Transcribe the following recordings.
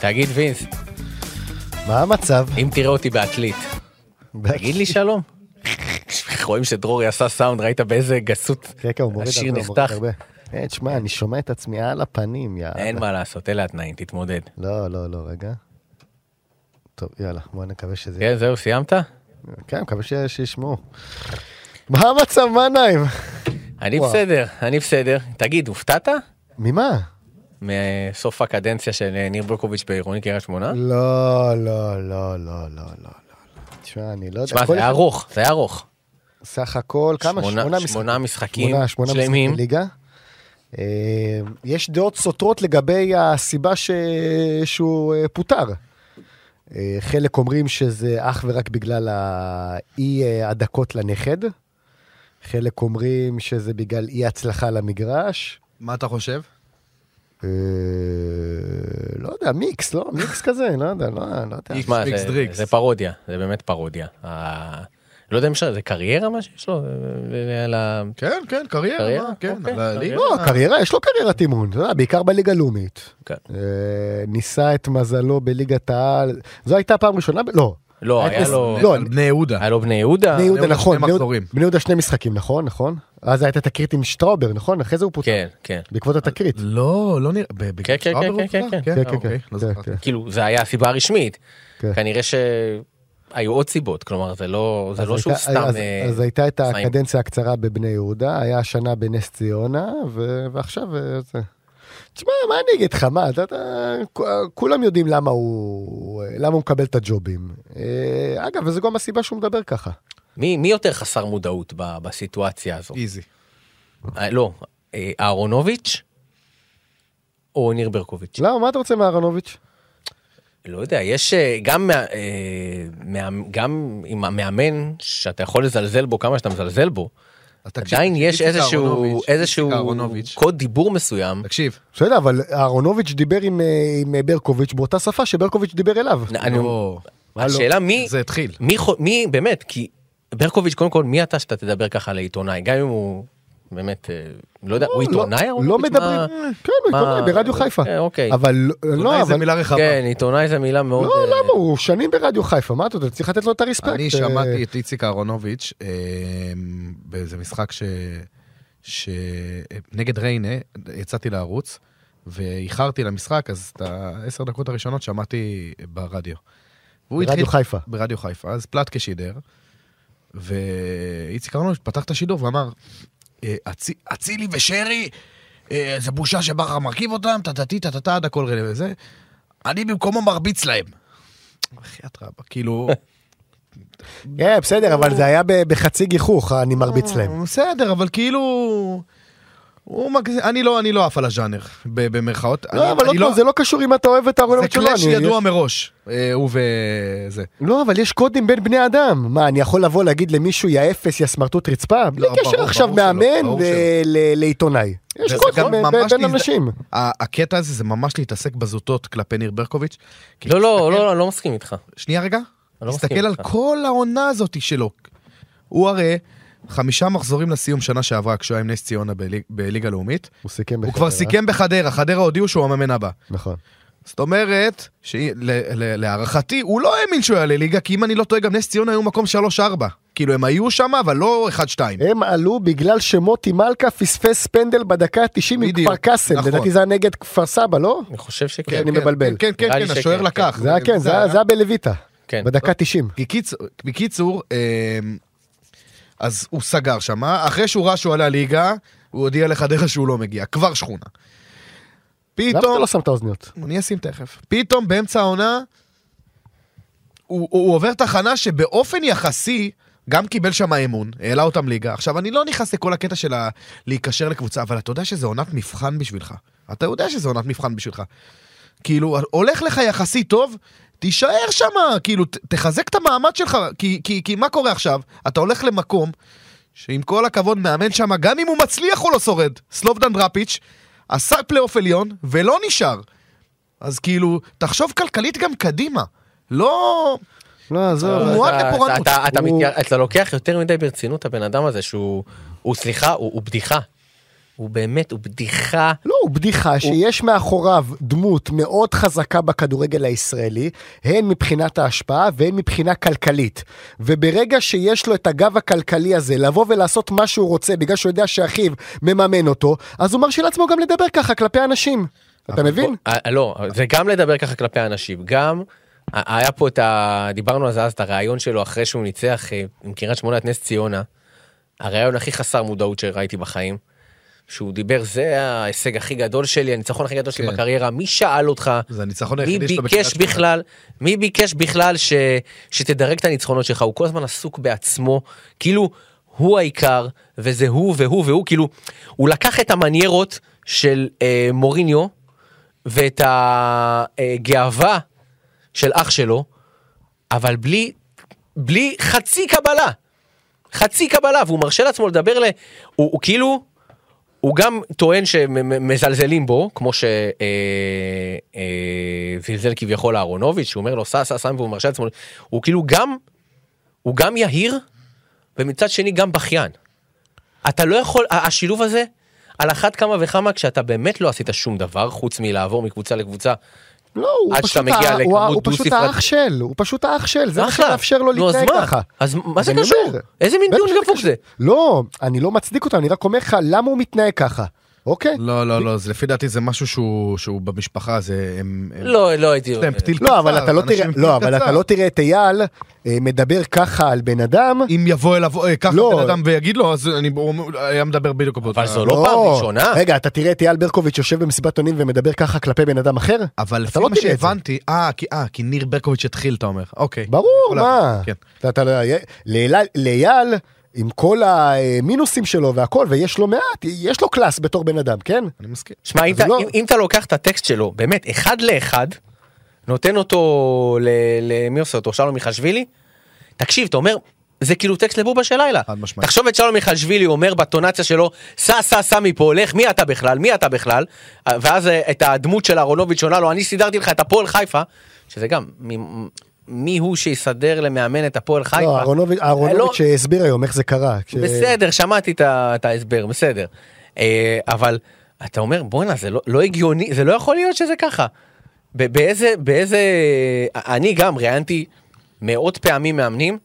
תגיד, וינס, מה המצב? אם תראה אותי בעתלית, תגיד לי שלום. רואים שדרורי עשה סאונד, ראית באיזה גסות כן, כן, הוא מוריד השיר הרבה, הוא מוריד נחתך. הרבה. אה, תשמע, אני שומע את עצמי על הפנים, יאללה. אין מה לעשות, אלה התנאים, תתמודד. לא, לא, לא, רגע. טוב, יאללה, בוא נקווה שזה... כן, זהו, סיימת? כן, מקווה ש- שישמעו. מה המצב, מה נעים? אני וואו. בסדר, אני בסדר. תגיד, הופתעת? ממה? אה? מסוף הקדנציה של אה, ניר ברקוביץ' בעירוני קריית שמונה? לא, לא, לא, לא, לא, לא. לא. תשמע, אני לא יודע. תשמע, זה כל היה אחד- ארוך, זה היה ארוך. סך הכל, כמה? שמונה- שמונה שמונה משחקים שלמים. משחקים בליגה. אה, יש דעות סותרות לגבי הסיבה ש... שהוא אה, פוטר. אה, חלק אומרים שזה אך ורק בגלל האי אה, הדקות לנכד. חלק אומרים שזה בגלל אי הצלחה למגרש. מה אתה חושב? אה, לא יודע, מיקס, לא? מיקס כזה, לא יודע, לא, לא יודע. תשמע, מיקס זה- דריקס. זה פרודיה, זה באמת פרודיה. ה- לא יודע אם ש- זה קריירה מה שיש לו? אה, על ה- כן, כן, קריירה? קריירה, מה, כן, אוקיי, על הליגה. לא, קריירה, יש לו קריירת אימון, אתה יודע, בעיקר בליגה הלאומית. כן. אה, ניסה את מזלו בליגת העל, זו הייתה פעם ראשונה, ב- לא, לא, היה לו... לא, על בני יהודה. היה לו בני יהודה. בני יהודה יהודה נכון, שני בני יהודה- מחזורים. בני יהודה שני משחקים נכון, נכון, אז הייתה תקרית עם שטראובר נכון, אחרי זה הוא פוטר, כן, כן. בעקבות התקרית, לא, לא נראה, ב- ב- כן, כן, שטראובר כן, הוא כן, פוטר? כן, כן, אה, כן, אוקיי, כן, לא כן, זכרתי. כן. כאילו, זה היה הסיבה הרשמית. כן. כנראה שהיו עוד סיבות, כלומר, זה לא זה אז לא שהוא הייתה- סתם... אז- אה, אז הייתה את סיים. הקדנציה הקצרה בבני יהודה, היה השנה בנס ציונה, ו- ועכשיו אה, זה. תשמע, מה אני אגיד לך, מה, אתה, אתה, כ- כולם יודעים למה הוא, למה הוא מקבל את הג'ובים. אה, אגב, וזו גם הסיבה שהוא מדבר ככה. מי מי יותר חסר מודעות ב- בסיטואציה הזו? איזי. אה, לא, אה, אהרונוביץ' או ניר ברקוביץ'? למה, מה אתה רוצה מאהרנוביץ'? לא יודע, יש אה, גם, מה- אה, מה- גם עם המאמן שאתה יכול לזלזל בו כמה שאתה מזלזל בו, תקשיב, עדיין יש איציק איזשהו, אהרונוביץ', איזשהו איציק אהרונוביץ'. קוד דיבור מסוים. תקשיב, בסדר, אבל אהרונוביץ' דיבר עם, אה, עם ברקוביץ' באותה שפה שברקוביץ' דיבר אליו. אני- לא. השאלה מי, זה התחיל. מי, חו- מי באמת, כי ברקוביץ', קודם כל, מי אתה שאתה תדבר ככה לעיתונאי, גם אם הוא באמת, אה, לא יודע, הוא לא, עיתונאי? לא, לא אהרונוביץ'? מדברים, מה- כן, הוא עיתונאי, מה- ברדיו חיפה. אה, אוקיי. אבל, לא, אולי זו אבל, מילה רחבה. כן, עיתונאי זה מילה מאוד... לא, אה, למה, הוא שנים ברדיו חיפה, מה אתה יודע, צריך לתת לו את הרספקט. אני אה, שמעתי את איציק אהרונוביץ' אה, באיזה משחק ש... ש... נגד ריינה, יצאתי לערוץ, ואיחרתי למשחק, אז את העשר דקות הראשונות שמעתי ברדיו. והוא ברדיו חיפה. ברדיו חיפה, אז פלטקה שידר, ואיציק אהרונוביץ' פתח את השידור ואמר, "אה, אצי- אצילי ושרי, אה, זה בושה שבכר מרכיב אותם, טה-טה-טי, טה-טה-טה, עד הכל רלוונטי וזה, אני במקומו מרביץ להם. בחייאת רבא, כאילו... כן, בסדר, אבל זה היה ב- בחצי גיחוך, אני מרביץ להם. בסדר, אבל כאילו... הוא מגז... אני לא, אני לא עף על הז'אנר, ב- במרכאות. לא, אני, אבל אני עוד פעם, זה לא קשור אם אתה אוהב את זה הארונוביץ' או לא. קלאש אני- ידוע מראש, אה, הוא וזה. לא, אבל יש קודים בין בני אדם. מה, אני יכול לבוא להגיד למישהו, יא אפס, יא סמרטוט רצפה? בלי ברור, קשר ברור עכשיו שלא, מאמן ברור ל- ל- לעיתונאי. יש וזה קודים גם ב- ממש בין להזד- אנשים. ה- הקטע הזה זה ממש להתעסק בזוטות כלפי ניר ברקוביץ'. כי לא, לא, תסתכל- כן. לא, לא, לא מסכים איתך. שנייה רגע. אני לא תסתכל מסכים על איתך. כל העונה הזאת שלו. הוא הרי חמישה מחזורים לסיום שנה שעברה כשהוא היה עם נס ציונה בליג- בליגה לאומית. הוא סיכם הוא כבר סיכם בחדרה, חדרה הודיעו שהוא המאמן הבא. נכון. זאת אומרת, שהיא- ל- ל- להערכתי, הוא לא האמין שהוא יעלה ליגה, כי אם אני לא טועה, גם נס ציונה היו מקום 3-4. כאילו, הם היו שם, אבל לא 1-2. הם עלו בגלל שמוטי מלכה פספס פנדל בדקה ה-90 עם בדיוק, כפר קאסם. נכון. לדעתי זה היה נגד כפר סבא, לא? אני חושב כן, שכן. אני כן, מבלבל. כן, כן, נראה לי כן, השוער שכן, לקח. זה היה כן, זה היה- זה היה בלויטה. כן. בדקה 90. בקיצור, בקיצור, אמ, אז הוא סגר שם, אה? אחרי שהוא ראה שהוא עלה ליגה, הוא הודיע לחדרה שהוא לא מגיע, כבר שכונה. למה אתה פתאום, לא שם את האוזניות? אני אשים תכף, פתאום באמצע העונה, הוא, הוא עובר תחנה שבאופן יחסי, גם קיבל שם אמון, העלה אותם ליגה. עכשיו, אני לא נכנס לכל הקטע של ה- להיקשר לקבוצה, אבל אתה יודע שזו עונת מבחן בשבילך. אתה יודע שזו עונת מבחן בשבילך. כאילו, הולך לך יחסי טוב, תישאר שם, כאילו, ת, תחזק את המעמד שלך, כי, כי, כי מה קורה עכשיו? אתה הולך למקום שעם כל הכבוד מאמן שם, גם אם הוא מצליח הוא לא שורד. סלובדן דראפיץ' עשה פלייאוף עליון ולא נשאר. אז כאילו, תחשוב כלכלית גם קדימה. לא... לא, עזוב. הוא מועד אתה- לפורענות. אתה- אתה הוא- מתייח- אתה לוקח יותר מדי ברצינות את הבן אדם הזה שהוא, הוא סליחה, הוא הוא בדיחה. הוא באמת, הוא בדיחה. לא, הוא בדיחה שיש מאחוריו דמות מאוד חזקה בכדורגל הישראלי, הן מבחינת ההשפעה והן מבחינה כלכלית. וברגע שיש לו את הגב הכלכלי הזה, לבוא ולעשות מה שהוא רוצה, בגלל שהוא יודע שאחיו מממן אותו, אז הוא מרשה לעצמו גם לדבר ככה כלפי אנשים. אתה מבין? אה, לא, זה גם לדבר ככה כלפי האנשים, גם... ה- היה פה את ה... דיברנו על זה אז, את הריאיון שלו אחרי שהוא ניצח אה, עם קריית שמונה את נס ציונה. הריאיון הכי חסר מודעות שראיתי בחיים. שהוא דיבר, זה ההישג הכי גדול שלי, הניצחון הכי גדול שלי כן. בקריירה, מי שאל אותך? זה הניצחון מי היחידי שלו בקריית ביקש שמונה. בכלל, מי ביקש בכלל ש, שתדרג את הניצחונות שלך? הוא כל הזמן עסוק בעצמו, כאילו הוא העיקר, וזה הוא והוא והוא, כאילו, הוא לקח את המניירות של אה, מוריניו, ואת הגאווה של אח שלו, אבל בלי, בלי חצי קבלה. חצי קבלה, והוא מרשה לעצמו לדבר ל... הוא, הוא כאילו... הוא גם טוען שמזלזלים בו, כמו שזלזל אה, אה, זלזל כביכול אהרונוביץ', שהוא אומר לו סע סע סע והוא מרשה לעצמו, הוא כאילו גם, הוא גם יהיר, ומצד שני גם בכיין. אתה לא יכול, ה- השילוב הזה, על אחת כמה וכמה כשאתה באמת לא עשית שום דבר, חוץ מלעבור מקבוצה לקבוצה. לא, הוא עד פשוט שאתה מגיע ה- הוא ה- לכמות הוא פשוט דו-ספרתית. האח של, הוא פשוט האח של, זה מה אחלה. שמאפשר לו נו, אז להתנהג מה? ככה. אז מה זה אני קשור? אומר, איזה מין בטח דיון שזה דפוק קשור. זה? לא, אני לא מצדיק אותו, אני רק אומר לך למה הוא מתנהג ככה, אוקיי? לא, לא, לא, זה לפי דעתי זה משהו שהוא שהוא במשפחה, זה... הם- הם- לא, לא הייתי... יש להם פתיל קצר. לא, אבל אתה לא אנשים תראה- עם פתיל לא, אבל אתה קצר. לא תראה את אייל אה, מדבר ככה על בן אדם. אם יבוא אליו, אה, ככה לא. בן אדם ויגיד לו, אז אני הוא היה מדבר בדיוק באותה... אבל זו לא פעם ראשונה. רגע, אתה תראה את אייל ברקוביץ' יושב במסיבת עונים ומדבר ככה כלפי בן אדם אחר? אבל לפי אתה לא מה תראה את זה. שהבנתי, אה, כי- אה, כי ניר ברקוביץ' התחיל, אתה אומר. אוקיי. ברור, יכול מה? להבין, כן. אתה- אתה לא- לאייל- לאייל, עם כל המינוסים שלו והכל, ויש לו מעט, יש לו קלאס בתור בן אדם, כן? אני מסכים. שמע, אם, אז אתה- לא. אם, אם אתה לוקח את הטקסט שלו, באמת, אחד לאחד, נותן אותו ל... ל מי עושה אותו? שלום מיכאלשווילי? תקשיב, אתה אומר, זה כאילו טקסט לבובה של לילה. חד משמעית. תחשוב את שלום מיכאלשווילי אומר בטונציה שלו, סע, סע, סע מפה, הולך, מי אתה בכלל? מי אתה בכלל? ואז אה, את הדמות של אהרונוביץ' עונה לו, אני סידרתי לך את הפועל חיפה, שזה גם, מי, מי הוא שיסדר למאמן את הפועל חיפה? לא, אהרונוביץ' לא- אהרונוביץ' שהסביר היום איך זה קרה. כש- בסדר, שמעתי את ה- את ההסבר, בסדר. אה, אבל אתה אומר, בואנה, זה לא- לא הגיוני, זה לא יכול להיות שזה ככה. ב- באיזה, באיזה... אני גם ראיינתי מאות פעמים מאמנים,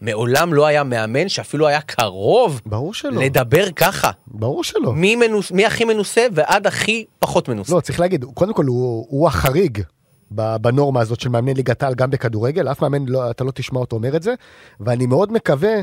מעולם לא היה מאמן שאפילו היה קרוב ברור שלא, לדבר ככה. ברור שלא. מי מנוס- מי הכי מנוסה ועד הכי פחות מנוסה. לא, צריך להגיד, קודם כל הוא הוא החריג. ב- בנורמה הזאת של מאמני ליגת העל גם בכדורגל, אף מאמן, לא, אתה לא תשמע אותו אומר את זה, ואני מאוד מקווה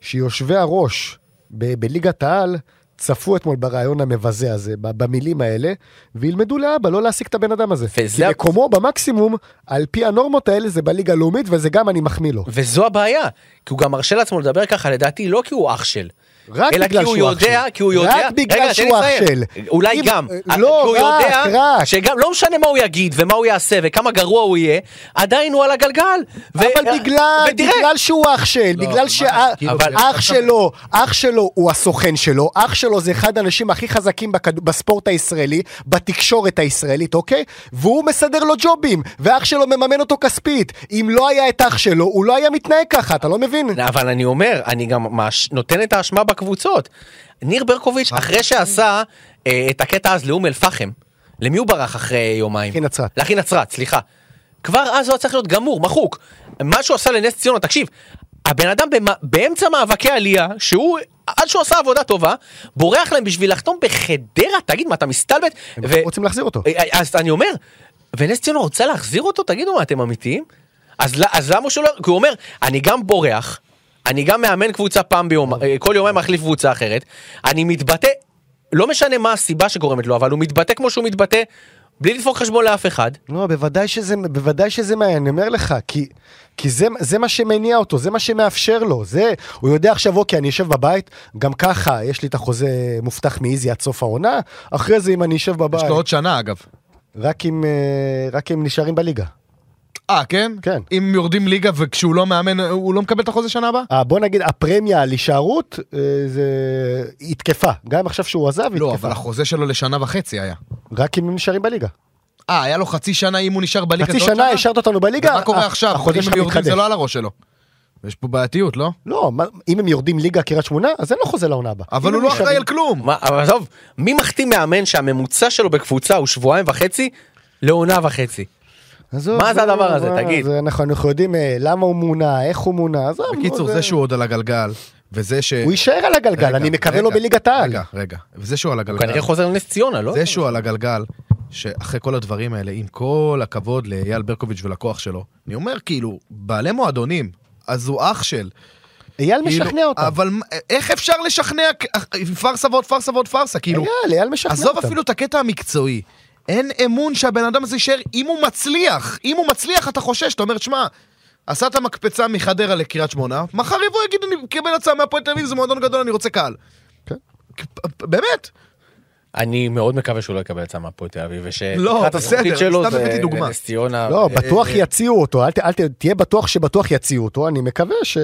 שיושבי הראש ב- בליגת העל צפו אתמול ברעיון המבזה הזה, ב- במילים האלה, וילמדו לאבא לא להעסיק את הבן אדם הזה. וזה כי ה- מקומו במקסימום, על פי הנורמות האלה, זה בליגה הלאומית, וזה גם אני מחמיא לו. וזו הבעיה, כי הוא גם מרשה לעצמו לדבר ככה, לדעתי לא כי הוא אח של. רק אלא בגלל כי הוא שהוא אח יודע, של. כי הוא יודע, רק בגלל רגע, תן שהוא לי אח לסיים. של. אולי אם- גם, אה, לא, כי הוא רק, יודע רק. שגם, לא משנה מה הוא יגיד ומה הוא יעשה וכמה גרוע הוא יהיה, עדיין הוא על הגלגל. ו- אה, אבל בגלל, ותראה, בגלל שהוא אח של, לא, בגלל אבל מה, כאילו, אבל- שאח שלו, אח שלו הוא הסוכן שלו, אח שלו זה אחד האנשים הכי חזקים בכד- בספורט הישראלי, בתקשורת הישראלית, אוקיי? והוא מסדר לו ג'ובים, ואח שלו מממן אותו כספית. אם לא היה את אח שלו, הוא לא היה מתנהג ככה, אתה לא מבין? אבל אני אומר, אני גם מאש- נותן את האשמה בקבוצות. ניר ברקוביץ', אחרי שעשה אה, את הקטע אז לאום אל-פחם, למי הוא ברח אחרי יומיים? אחי נצרת. להכי נצרת, סליחה. כבר אז הוא היה צריך להיות גמור, מחוק. מה שהוא עשה לנס ציונה, תקשיב, הבן אדם במ... באמצע מאבקי עלייה, שהוא, עד שהוא עשה עבודה טובה, בורח להם בשביל לחתום בחדרה, תגיד מה, אתה מסתלבט? ו... רוצים להחזיר אותו. אה, אז אני אומר, ונס ציונה רוצה להחזיר אותו? תגידו מה, אתם אמיתיים? אז, ל- אז למה שהוא לא... כי הוא אומר, אני גם בורח, אני גם מאמן קבוצה פעם ביום, אה, כל יומיים מחליף קבוצה אחרת, אני מתבטא, לא משנה מה הסיבה שגורמת לו, אבל הוא מתבטא כמו שהוא מתבטא, בלי לדפוק חשבון לאף אחד. לא, בוודאי שזה, בוודאי שזה מעניין, אני אומר לך, כי, כי זה, זה מה שמניע אותו, זה מה שמאפשר לו, זה, הוא יודע עכשיו, אוקיי, אני אשב בבית, גם ככה, יש לי את החוזה מובטח מאיזי עד סוף העונה, אחרי זה אם אני אשב בבית, יש לו עוד שנה, אגב. רק אם, אה, רק אם נשארים בליגה. אה, כן? כן. אם יורדים ליגה וכשהוא לא מאמן, הוא לא מקבל את החוזה שנה הבאה? אה, בוא נגיד, הפרמיה על הישארות, אה, זה, היא תקפה, גם עכשיו שהוא עזב, היא לא, תקפה, אבל החוזה שלו לשנה וחצי היה. רק אם הם נשארים בליגה. אה, היה לו חצי שנה אם הוא נשאר בליגה. חצי זה עוד שנה השארת אותנו בליגה, ומה קורה אה, עכשיו? החוזה החוזה שלך שלו מתחדש. זה לא על לא הראש שלו. יש פה בעייתיות, לא? לא, מה- אם הם יורדים ליגה קריית שמונה, אז אין לו חוזה לעונה הבאה. אבל אם הוא הם לא נשארים- אחראי על כלום. מה, אבל עזוב, מי מחתים מאמן שהממוצע שלו בקבוצה הוא שבועיים וחצי לעונה וחצי? עזוב, מה זה לא, הדבר הזה? מה, תגיד. זה- אנחנו אנחנו יודעים אה, למה הוא מונה, איך לא, הוא מונה, עזוב. נו, בקיצור, זה שהוא עוד על הגלגל, וזה ש... הוא יישאר על הגלגל, רגע, אני מקווה לו רגע, בליגת העל. רגע, רגע, וזה שהוא על הוא הגלגל. כנראה חוזר לנס ציונה, לא? זה שהוא על הגלגל, שאחרי כל הדברים האלה, עם כל הכבוד לאייל ברקוביץ' ולכוח שלו, אני אומר, כאילו, בעלי מועדונים, אז הוא אח של. אייל כאילו, משכנע אותם. אבל מ- איך אפשר לשכנע כ- פארסה ועוד פארסה ועוד פארסה? כאילו, אייל, אייל משכנע אותם. עזוב אפילו את הקטע המקצועי. אין אמון שהבן אדם הזה יישאר אם הוא מצליח. אם הוא מצליח, אתה חושש, אתה אומר, שמע, עשה את המקפצה מחדרה לקריית שמונה, מחר יבוא יגיד, אני מקבל הצעה מהפועל תל אביב, זה מועדון גדול, אני רוצה קהל. כן. כ- באמת, אני מאוד מקווה שהוא לא יקבל הצעה מהפועל תל אביב, לא, ושפתיחת בסדר, הזכוכית שלו סתם זה הבאתי דוגמה. לנס ציונה. אה, לא, ו- בטוח יציעו אותו, אל ת- אל ת- תהיה בטוח שבטוח יציעו אותו, אני מקווה ש... אה,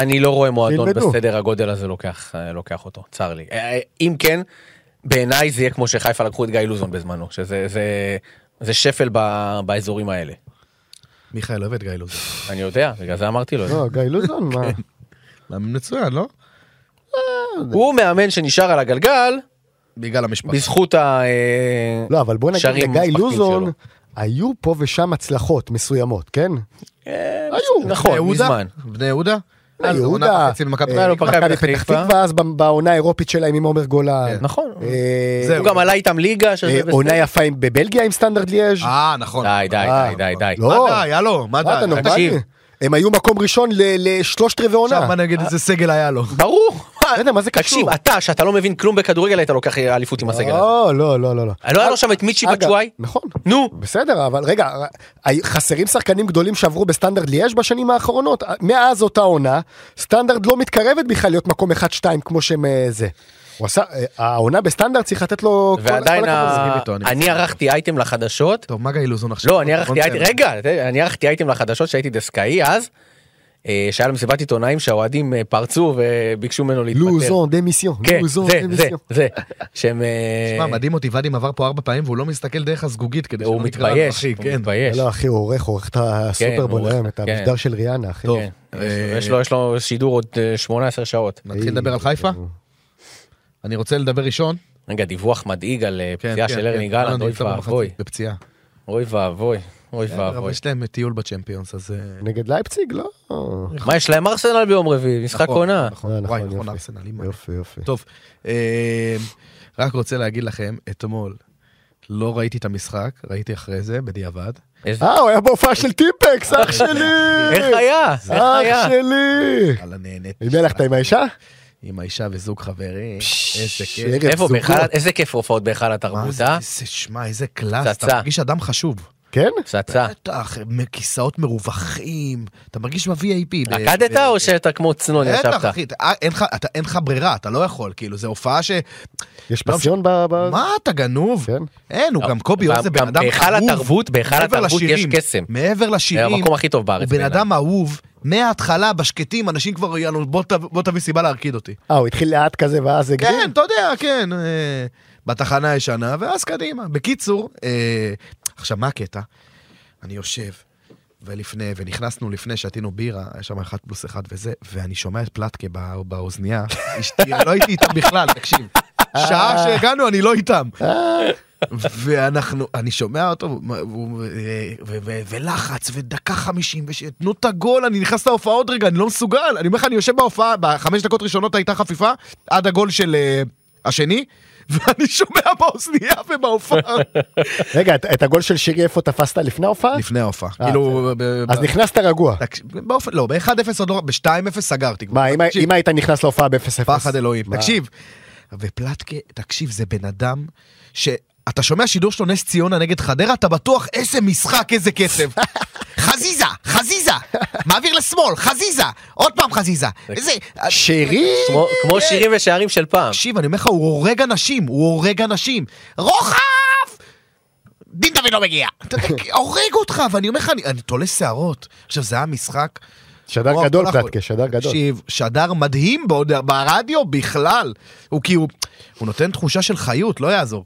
אני לא רואה מועדון ילמדו. בסדר הגודל הזה לוקח אה, לוקח אותו, צר לי. אה, אה, אם כן, בעיניי זה יהיה כמו שחיפה לקחו את גיא לוזון בזמנו, שזה זה- זה שפל ב- באזורים האלה. מיכאל אוהב את גיא לוזון. אני יודע, בגלל זה אמרתי לו. את זה. לא, גיא לוזון, מה? כן. מאמן מצוין, לא? הוא מאמן שנשאר על הגלגל בגלל המשפחה. בזכות ה... אה, לא, אבל בוא נגיד שרים לגיא המשפחתיים לוזון, שלו. היו פה ושם הצלחות מסוימות, כן? אה, היו. בני נכון, יהודה? מזמן. בני יהודה? נכון. בני אז יהודה, עונה וחצי במכבי אה, תל אביב. מכבי מכבי פתח פתח תקווה. תקווה, אז ב- בעונה האירופית שלהם עם עומר גולן. כן. נכון. אה, זהו. הוא גם עלה איתם ליגה שזה אה, בסדר. עונה יפה עם- בבלגיה עם סטנדרט ליאז'. אה, נכון. די, די, אה, די, די, די. לא. מה די, הלו, מה מה אתה די? נורמלי? תקשיב. הם היו מקום ראשון ל- לשלושת רבעי עונה. עכשיו מה נגיד איזה סגל היה לו. ברור. לא יודע, מה זה תקשיב, קשור? אתה, שאתה לא מבין כלום בכדורגל, היית לוקח אליפות עם הסגל הזה. לא, לא, לא, לא. לא. לא היה לו שם את מיצ'י אגב, בצ'ואי? נכון. נו, בסדר, אבל רגע, חסרים שחקנים גדולים שעברו בסטנדרט ליאש בשנים האחרונות. מאז אותה עונה, סטנדרט לא מתקרבת בכלל להיות מקום 1-2 כמו שהם אה, זה. הוא עשה, אה, העונה בסטנדרט צריך לתת לו... כל- ועדיין כל הכבוד. ה- מסכים איתו, אני אני ערכתי אייטם לחדשות. טוב, מה גיא לוזון עכשיו? לא, אני ערכתי בוא אייטם, נסיים. רגע, אני ערכתי אייטם לחדשות שהייתי דסקאי אז. אה, שהיה למסיבת עיתונאים שהאוהדים אה, פרצו וביקשו ממנו להתפטר. לוזון, דה מיסיון. כן, לוזון, זה, דה זה, מיסיון. זה. שהם... אה, שמע, מדהים אותי, ואדים עבר פה ארבע פעמים והוא לא מסתכל דרך הזגוגית כדי הוא שלא נקרא לנו מתבייש, אחי, הוא כן. מתבייש. לא, אחי, הוא עורך, עורך את הסופרבול כן, עורך, היום, את כן. המשדר של ריאנה, אחי. טוב, כן, אה, יש לו- יש לו שידור עוד אה, 18 שעות. נתחיל לדבר על חיפה? אני רוצה לדבר ראשון. רגע, דיווח מדאיג על אה, כן, פציעה כן, של כן. ארני גלנד, אוי נפתח במחצית ואבוי, בפציעה. אוי ואבוי, אוי אבל ואבוי. יש להם טיול בצ'מפיונס, אז... אה, נגד לייפציג? לא. מה, יש להם ארסנל ביום רביעי, משחק נכון, עונה. נכון, אה, נכון, וואי, יופי. נכון, ארסנל, אימא. יופי, יופי. טוב, אה, רק רוצה להגיד לכם, אתמול לא ראיתי את המשחק, ראיתי אחרי זה, בדיעבד. איזה- אה, הוא היה בהופעה של טיפקס, אח אה, שלי! איך היה? איך היה? אח שלי! וואלה, נהניתי. עם מי הלכת עם האישה? עם האישה וזוג חברים, איזה פשש, כיף. ערב איפה, זוגות. בהיכל- איזה כיף הופעות בהיכל מה התרבות, זה, אה? איזה, שמע, איזה קלאס, אתה פצצה. מרגיש אדם חשוב. כן? פצצה. בטח, מ- כיסאות מרווחים, אתה מרגיש ב-VIP. ב- רקדת ב- או שאתה כמו צנון בטח, ישבת? אחי, אתה- אין לך- אתה- אין לך ברירה, אתה לא יכול, כאילו, זו הופעה ש... יש פסיון ב... ב- לא, מה, אתה גנוב? כן. אין, הוא גם קובי גם- אוז זה בן גם אדם בהיכל אהוב. התרבות- בהיכל מעבר התרבות יש לשירים, קסם. מעבר לשירים. זה המקום הכי טוב בארץ הוא בן בעיניי. אדם אהוב, מההתחלה, בשקטים, אנשים כבר יאללה, בוא תב- בוא תביא סיבה להרקיד אותי. אה, הוא התחיל לאט כזה ואז הגדיל? כן, אתה יודע, כן. אה, בתחנה הישנה, ואז קדימה. בקיצור, אה, עכשיו, מה הקטע? אני יושב, ולפני, ונכנסנו לפני שתינו בירה, היה שם אחד פלוס אחד וזה, ואני שומע את פלטקה בא- באוזנייה. אשתי, לא הייתי איתם בכלל, תקשיב. שעה שהגענו, אני לא איתם. אה. ואנחנו, אני שומע אותו, והוא- ו- ו- ו- ולחץ, ודקה חמישים, ותנו את הגול, אני נכנס להופעה עוד רגע, אני לא מסוגל. אני אומר לך, אני יושב בהופעה, בחמש דקות ראשונות הייתה חפיפה, עד הגול של אה, השני, ואני שומע באוזנייה ובהופעה. רגע, את- את הגול של שירי איפה תפסת לפני ההופעה? לפני ההופעה. אה, כאילו, ב- אז ב- נכנסת רגוע. תקשיב, באופן, לא, ב-1-0 עוד לא, ב-2-0 סגרתי. כבר. מה, אם ה- תקשיב, אם היית נכנס להופעה ב-0-0? פחד אלוהים. תקשיב, ופלטקה, תקשיב, זה בן אדם ש... אתה שומע שידור שלו נס ציונה נגד חדרה, אתה בטוח איזה משחק, איזה קצב. חזיזה, חזיזה, מעביר לשמאל, חזיזה, עוד פעם חזיזה. איזה... שירי? כמו- כמו שירים ושערים של פעם. תקשיב, אני אומר לך, הוא הורג אנשים, הוא הורג אנשים. רוחב! דין דוד לא מגיע. אתה יודע, הורג אותך, ואני אומר לך, אני- אני תולה שערות. עכשיו, זה היה משחק... שדר וואו, גדול כל קצת, הכבוד. כשדר גדול. תקשיב, שדר מדהים בעוד, כאילו, ברדיו בכלל. הוא כי הוא, הוא נותן תחושה של חיות, לא יעזור.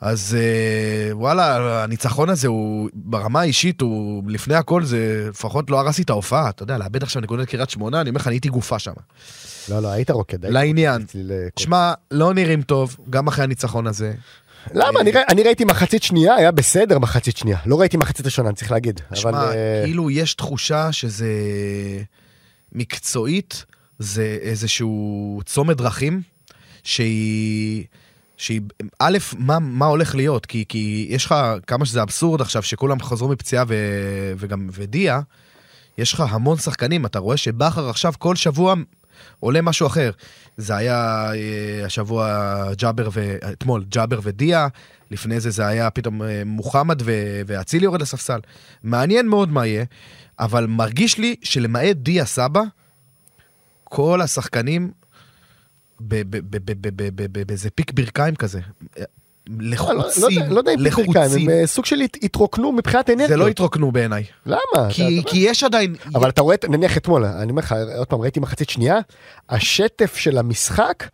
אז אה, וואלה, הניצחון הזה הוא ברמה האישית, הוא לפני הכל זה לפחות לא הרס לי את ההופעה, אתה יודע, לאבד עכשיו נקודת קריית שמונה, אני אומר לך, אני הייתי גופה שם. לא, לא, היית רוקד. היית לעניין. מציץ לי לכל- שמע, לא נראים טוב, גם אחרי הניצחון הזה. למה? אני ראי- אני ראיתי מחצית שנייה, היה בסדר מחצית שנייה. לא ראיתי מחצית ראשונה, אני צריך להגיד. אבל... שמע, אה, כאילו יש תחושה שזה מקצועית, זה איזשהו צומת דרכים, שהיא... שהיא, א', מה, מה הולך להיות? כי, כי יש לך, כמה שזה אבסורד עכשיו, שכולם חזרו מפציעה ו, וגם ודיה, יש לך המון שחקנים, אתה רואה שבכר עכשיו כל שבוע עולה משהו אחר. זה היה אה, השבוע ג'אבר ו... אתמול ג'אבר ודיה, לפני זה זה היה פתאום אה, מוחמד ו- ואצילי יורד לספסל. מעניין מאוד מה יהיה, אבל מרגיש לי שלמעט דיה סבא, כל השחקנים ב- ב- ב- ב- ב- ב- ב- ב- באיזה פיק ברכיים כזה. לא- לא לחוצים, יודע- לא יודע אם פיטרקיים, כאילו לחוצים. הם אה, סוג של הת- התרוקנו מבחינת אנרגיות. זה לא התרוקנו בעיניי. למה? אתה- כי אתה- כי יש עדיין... אבל אתה רואה, את- נניח אתמול, אני אומר לך, עוד פעם, ראיתי מחצית שנייה, השטף של המשחק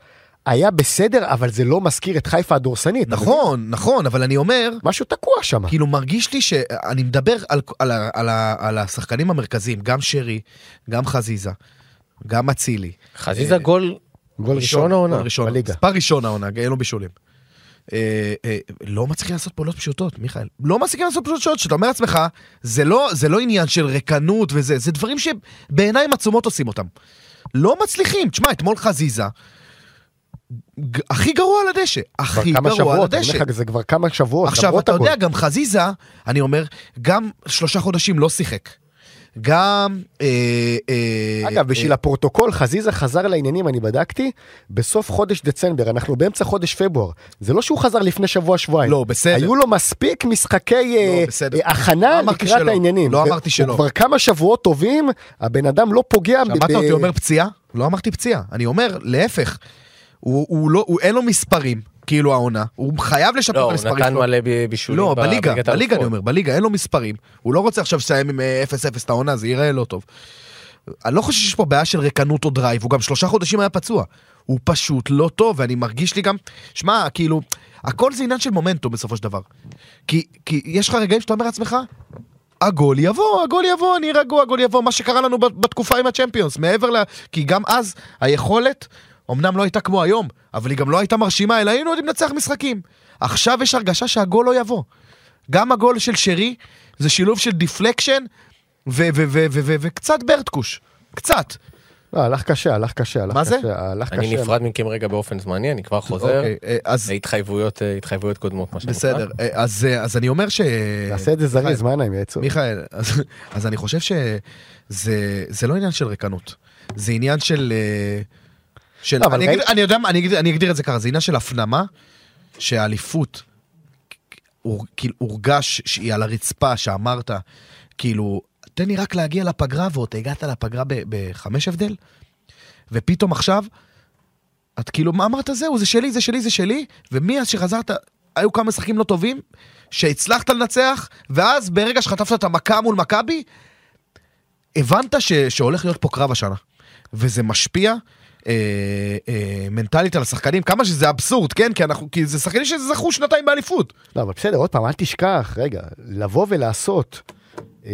היה בסדר, אבל זה לא מזכיר את חיפה הדורסנית. אתה מבין? נכון, נכון, אבל אני אומר, משהו תקוע שם. כאילו מרגיש לי שאני מדבר על, על, ה- על, ה- על השחקנים המרכזיים, גם שרי, גם חזיזה, גם אצילי. אה, חזיזה גול גול ראשון. ראשון העונה, גול ראשון, בליגה. מספר ראשון העונה, אין לו בישולים. אה, אה, לא מצליחים לעשות פעולות פשוטות, מיכאל. לא מצליחים לעשות פעולות פשוטות, שאתה אומר לעצמך, זה לא, זה לא עניין של ריקנות וזה, זה דברים שבעיניים עצומות עושים אותם. לא מצליחים. תשמע, אתמול חזיזה, ג- הכי גרוע על הדשא. כבר הכי כמה גרוע על שבועות, אני הדשא. אומר לך, זה כבר כמה שבועות. עכשיו, למרות אתה הגול. יודע, גם חזיזה, אני אומר, גם שלושה חודשים לא שיחק. גם... אה, אה, אגב, בשביל אה, הפרוטוקול, חזיזה חזר לעניינים, אני בדקתי, בסוף חודש דצמבר, אנחנו באמצע חודש פברואר. זה לא שהוא חזר לפני שבוע-שבועיים. לא, בסדר. היו לו מספיק משחקי אה, בסדר. אה, הכנה לא אמרתי לקראת שלא. העניינים. לא הוא- אמרתי שלא. הוא כבר כמה שבועות טובים, הבן אדם לא פוגע. ב- שמעת ב- אותי אומר פציעה? לא אמרתי פציעה. אני אומר, להפך. הוא, הוא לא, הוא, אין לו מספרים, כאילו העונה. הוא חייב לשפר לא, את הוא המספרים נתן שלו. מלא ב- בישולים. לא, ב- בליגה, בליגת בליגה אני האלופות. אומר, בליגה, אין לו מספרים. הוא לא רוצה עכשיו לסיים עם אה, 0-0 את העונה, זה ייראה לא טוב. אני לא חושב שיש פה בעיה של ריקנות או דרייב, הוא גם שלושה חודשים היה פצוע. הוא פשוט לא טוב, ואני מרגיש לי גם, שמע, כאילו, הכל זה עניין של מומנטום בסופו של דבר. כי, כי יש לך רגעים שאתה אומר לעצמך, הגול יבוא, הגול יבוא, אני רגוע, הגול יבוא, מה שקרה לנו בת- בתקופה עם הצ'מפיונס, מעבר ל... כי גם אז היכולת, אמנם לא הייתה כמו היום, אבל היא גם לא הייתה מרשימה, אלא היינו יודעים לנצח משחקים. עכשיו יש הרגשה שהגול לא יבוא. גם הגול של שרי, זה שילוב של דיפלקשן ו- ו- ו- ו- ו- וקצת ברטקוש, קצת. לא, הלך קשה, הלך קשה. הלך מה זה? קשה, הלך אני קשה. נפרד מכם רגע באופן זמני, אני כבר חוזר. אוקיי, אה, אז להתחייבויות, אה, התחייבויות קודמות, מה שנקרא. בסדר, אה, אז אה, אז אני אומר ש... נעשה את זה זריז, מה העיניים יעצור? מיכאל, אז, אז אני חושב שזה זה לא עניין של ריקנות, זה עניין של... אה, של לא, אבל אני, ראי- אגיד, אני יודע, מה, אני, אגיד, אני אגדיר את זה ככה, זה עניין של הפנמה, שהאליפות, אור- כאילו הורגש שהיא על הרצפה, שאמרת, כאילו, תן לי רק להגיע לפגרה, ואתה הגעת לפגרה ב- בחמש הבדל, ופתאום עכשיו, את כאילו, מה אמרת זהו, זה שלי, זה שלי, זה שלי, ומאז שחזרת, היו כמה משחקים לא טובים, שהצלחת לנצח, ואז ברגע שחטפת את המכה מול מכבי, הבנת ש, שהולך להיות פה קרב השנה. וזה משפיע אה, אה, מנטלית על השחקנים, כמה שזה אבסורד, כן? כי, אנחנו, כי זה שחקנים שזכו שנתיים באליפות. לא, אבל בסדר, עוד פעם, אל תשכח, רגע, לבוא ולעשות אה,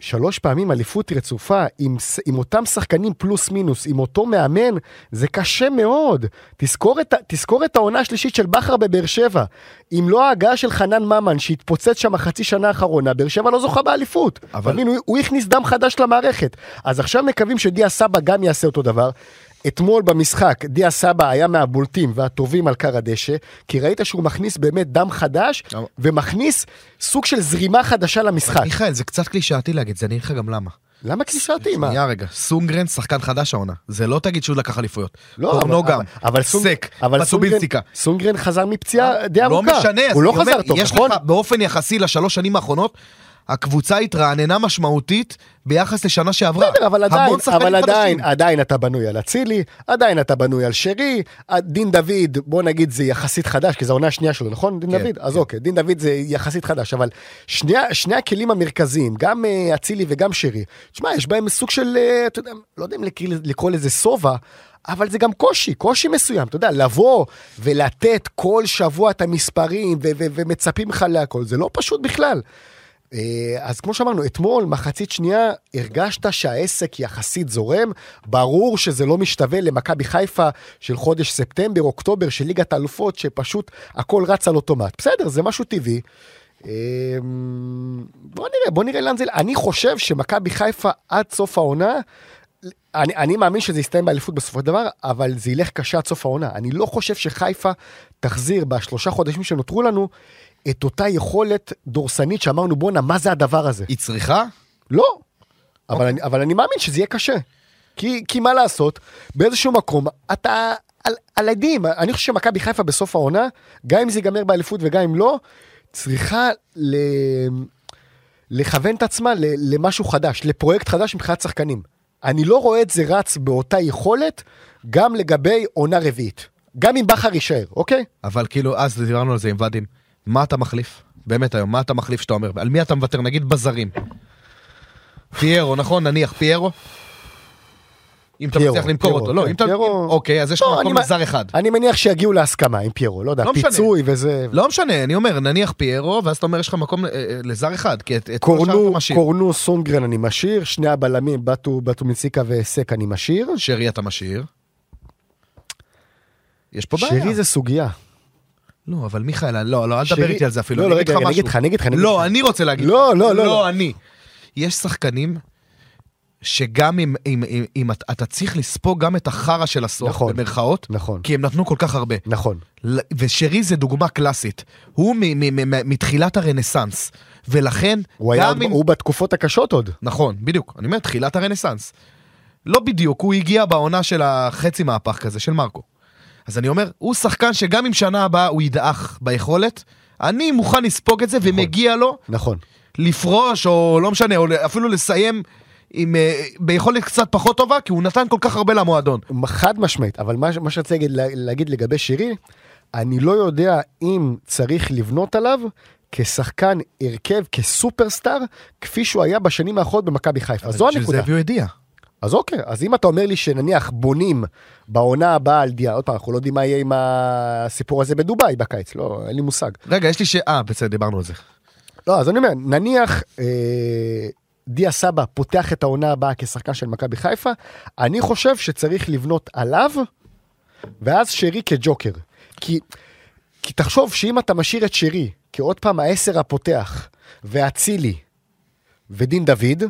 שלוש פעמים אליפות רצופה עם, ס- עם אותם שחקנים פלוס מינוס, עם אותו מאמן, זה קשה מאוד. תזכור את, ה- תזכור את העונה השלישית של בכר בבאר שבע. אם לא ההגעה של חנן ממן שהתפוצץ שם החצי שנה האחרונה, באר שבע לא זוכה באליפות. אבל- אבל... תבין, הוא, כאילו, הוא הכניס דם חדש למערכת. אז עכשיו מקווים שדיה סבא גם יעשה אותו דבר. אתמול במשחק דיה סבא היה מהבולטים והטובים על כר הדשא, כי ראית שהוא מכניס באמת דם חדש, אבל- ומכניס סוג של זרימה חדשה למשחק. מיכאל, זה קצת קלישאתי להגיד, זה אני אגיד לך גם למה. למה קלישאתי? מה? שנייה רגע, סונגרן שחקן חדש העונה, זה לא תגיד שהוא לקח אליפויות. לא, פורנו גם, אבל סונג- סק, אבל סונגרן- פסובינסטיקה. סונגרן חזר מפציעה די לא ארוכה. משנה, אז הוא לא אני אומר, חזר טוב, יש נכון? לך באופן יחסי לשלוש שנים האחרונות, הקבוצה התרעננה משמעותית ביחס לשנה שעברה. בסדר, אבל המון עדיין, שחקנים אבל עדיין, אה- חדשים. עדיין אתה בנוי על אצילי, עדיין אתה בנוי על שרי, דין דוד, בוא נגיד זה יחסית חדש, כי זו העונה השנייה שלו, נכון? דין כן, דוד? אז כן. אוקיי, דין דוד זה יחסית חדש, אבל שני, ה- שני הכלים המרכזיים, גם אה, אצילי וגם שרי, תשמע, יש בהם סוג של, אה, אתה יודע, לא יודע אם לקרוא- לקרוא לזה שובע, אבל זה גם קושי, קושי מסוים, אתה יודע, לבוא ולתת כל שבוע את המספרים ו- ו- ומצפים לך להכל, זה לא פשוט בכלל. אה, אז כמו שאמרנו, אתמול, מחצית שנייה, הרגשת שהעסק יחסית זורם. ברור שזה לא משתווה למכבי חיפה של חודש ספטמבר, אוקטובר, של ליגת האלופות, שפשוט הכל רץ על אוטומט. בסדר, זה משהו טבעי. אה, אמ, בוא נראה, בוא נראה לאן זה... אני חושב שמכבי חיפה עד סוף העונה... אני, אני מאמין שזה יסתיים באליפות בסופו של דבר, אבל זה ילך קשה עד סוף העונה. אני לא חושב שחיפה תחזיר בשלושה חודשים שנותרו לנו את אותה יכולת דורסנית שאמרנו, בואנה, מה זה הדבר הזה? היא צריכה? לא. אבל, אני, אבל אני מאמין שזה יהיה קשה. כי, כי מה לעשות, באיזשהו מקום אתה על, על עדים. אני חושב שמכבי חיפה בסוף העונה, גם אם זה ייגמר באליפות וגם אם לא, צריכה ל... לכוון את עצמה ל- למשהו חדש, לפרויקט חדש מבחינת שחקנים. אני לא רואה את זה רץ באותה יכולת גם לגבי עונה רביעית. גם אם בכר יישאר, אוקיי? אבל כאילו, אז דיברנו על זה עם ואדים. מה אתה מחליף? באמת היום, מה אתה מחליף שאתה אומר? על מי אתה מוותר? נגיד בזרים. פיירו, נכון? נניח פיירו? אם אתה פיירו, מצליח למכור פיירו, אותו. לא, כן, אם אתה... פיירו- אוקיי, אז יש לך לא, מקום אני- לזר אחד. אני מניח שיגיעו להסכמה עם פיירו, לא יודע, לא משנה. פיצוי וזה... לא משנה, אני אומר, נניח פיירו, ואז אתה אומר, יש לך מקום אה, אה, לזר אחד, כי את את כל השאר אתה קורנו, משאיר. קורנו סונגרן אני משאיר, שני הבלמים, בטו, בטו מציקה וסק אני משאיר. שרי אתה משאיר. יש פה בעיה. שרי זה סוגיה. לא, אבל מיכאל, לא, לא, אל תדבר שרי- איתי על זה אפילו. לא, לא, אני אגיד רגע, לך רגע, אני משהו. אגיד לך, אני אגיד לך, אני אגיד לא, לך. אני רוצה להגיד. לא, לא, לא, לא, לא. אני. יש שחקנים שגם אם, אם, אם, אם אתה, אתה צריך לספוג גם את החרא של הסוף, נכון. במרכאות, נכון, כי הם נתנו כל כך הרבה. נכון. ל- ושרי זה דוגמה קלאסית. הוא מ, מ, מ, מ, מתחילת הרנסאנס, ולכן, הוא היה, גם אם... הוא בתקופות הקשות עוד. נכון, בדיוק. אני אומר, תחילת הרנסאנס. לא בדיוק, הוא הגיע בעונה של החצי מהפך כזה, של מרקו. אז אני אומר, הוא שחקן שגם אם שנה הבאה הוא ידעך ביכולת, אני מוכן לספוג את זה ומגיע לו נכון. לפרוש, או לא משנה, או אפילו לסיים עם, אה, ביכולת קצת פחות טובה, כי הוא נתן כל כך הרבה למועדון. חד משמעית, אבל מה, ש- מה שרציתי להגיד, להגיד לגבי שירי, אני לא יודע אם צריך לבנות עליו כשחקן הרכב, כסופרסטאר, כפי שהוא היה בשנים האחרונות במכבי חיפה. זו בשביל הנקודה. זה הביאו ידיעה. אז אוקיי, אז אם אתה אומר לי שנניח בונים בעונה הבאה על דיה, עוד פעם, אנחנו לא יודעים מה יהיה עם הסיפור הזה בדובאי בקיץ, לא, אין לי מושג. רגע, יש לי ש... אה, בסדר, דיברנו על זה. לא, אז אני אומר, נניח אה, דיה סבא פותח את העונה הבאה כשחקן של מכבי חיפה, אני חושב שצריך לבנות עליו, ואז שרי כג'וקר. כי, כי תחשוב שאם אתה משאיר את שרי, כעוד פעם העשר הפותח, ואצילי, ודין דוד,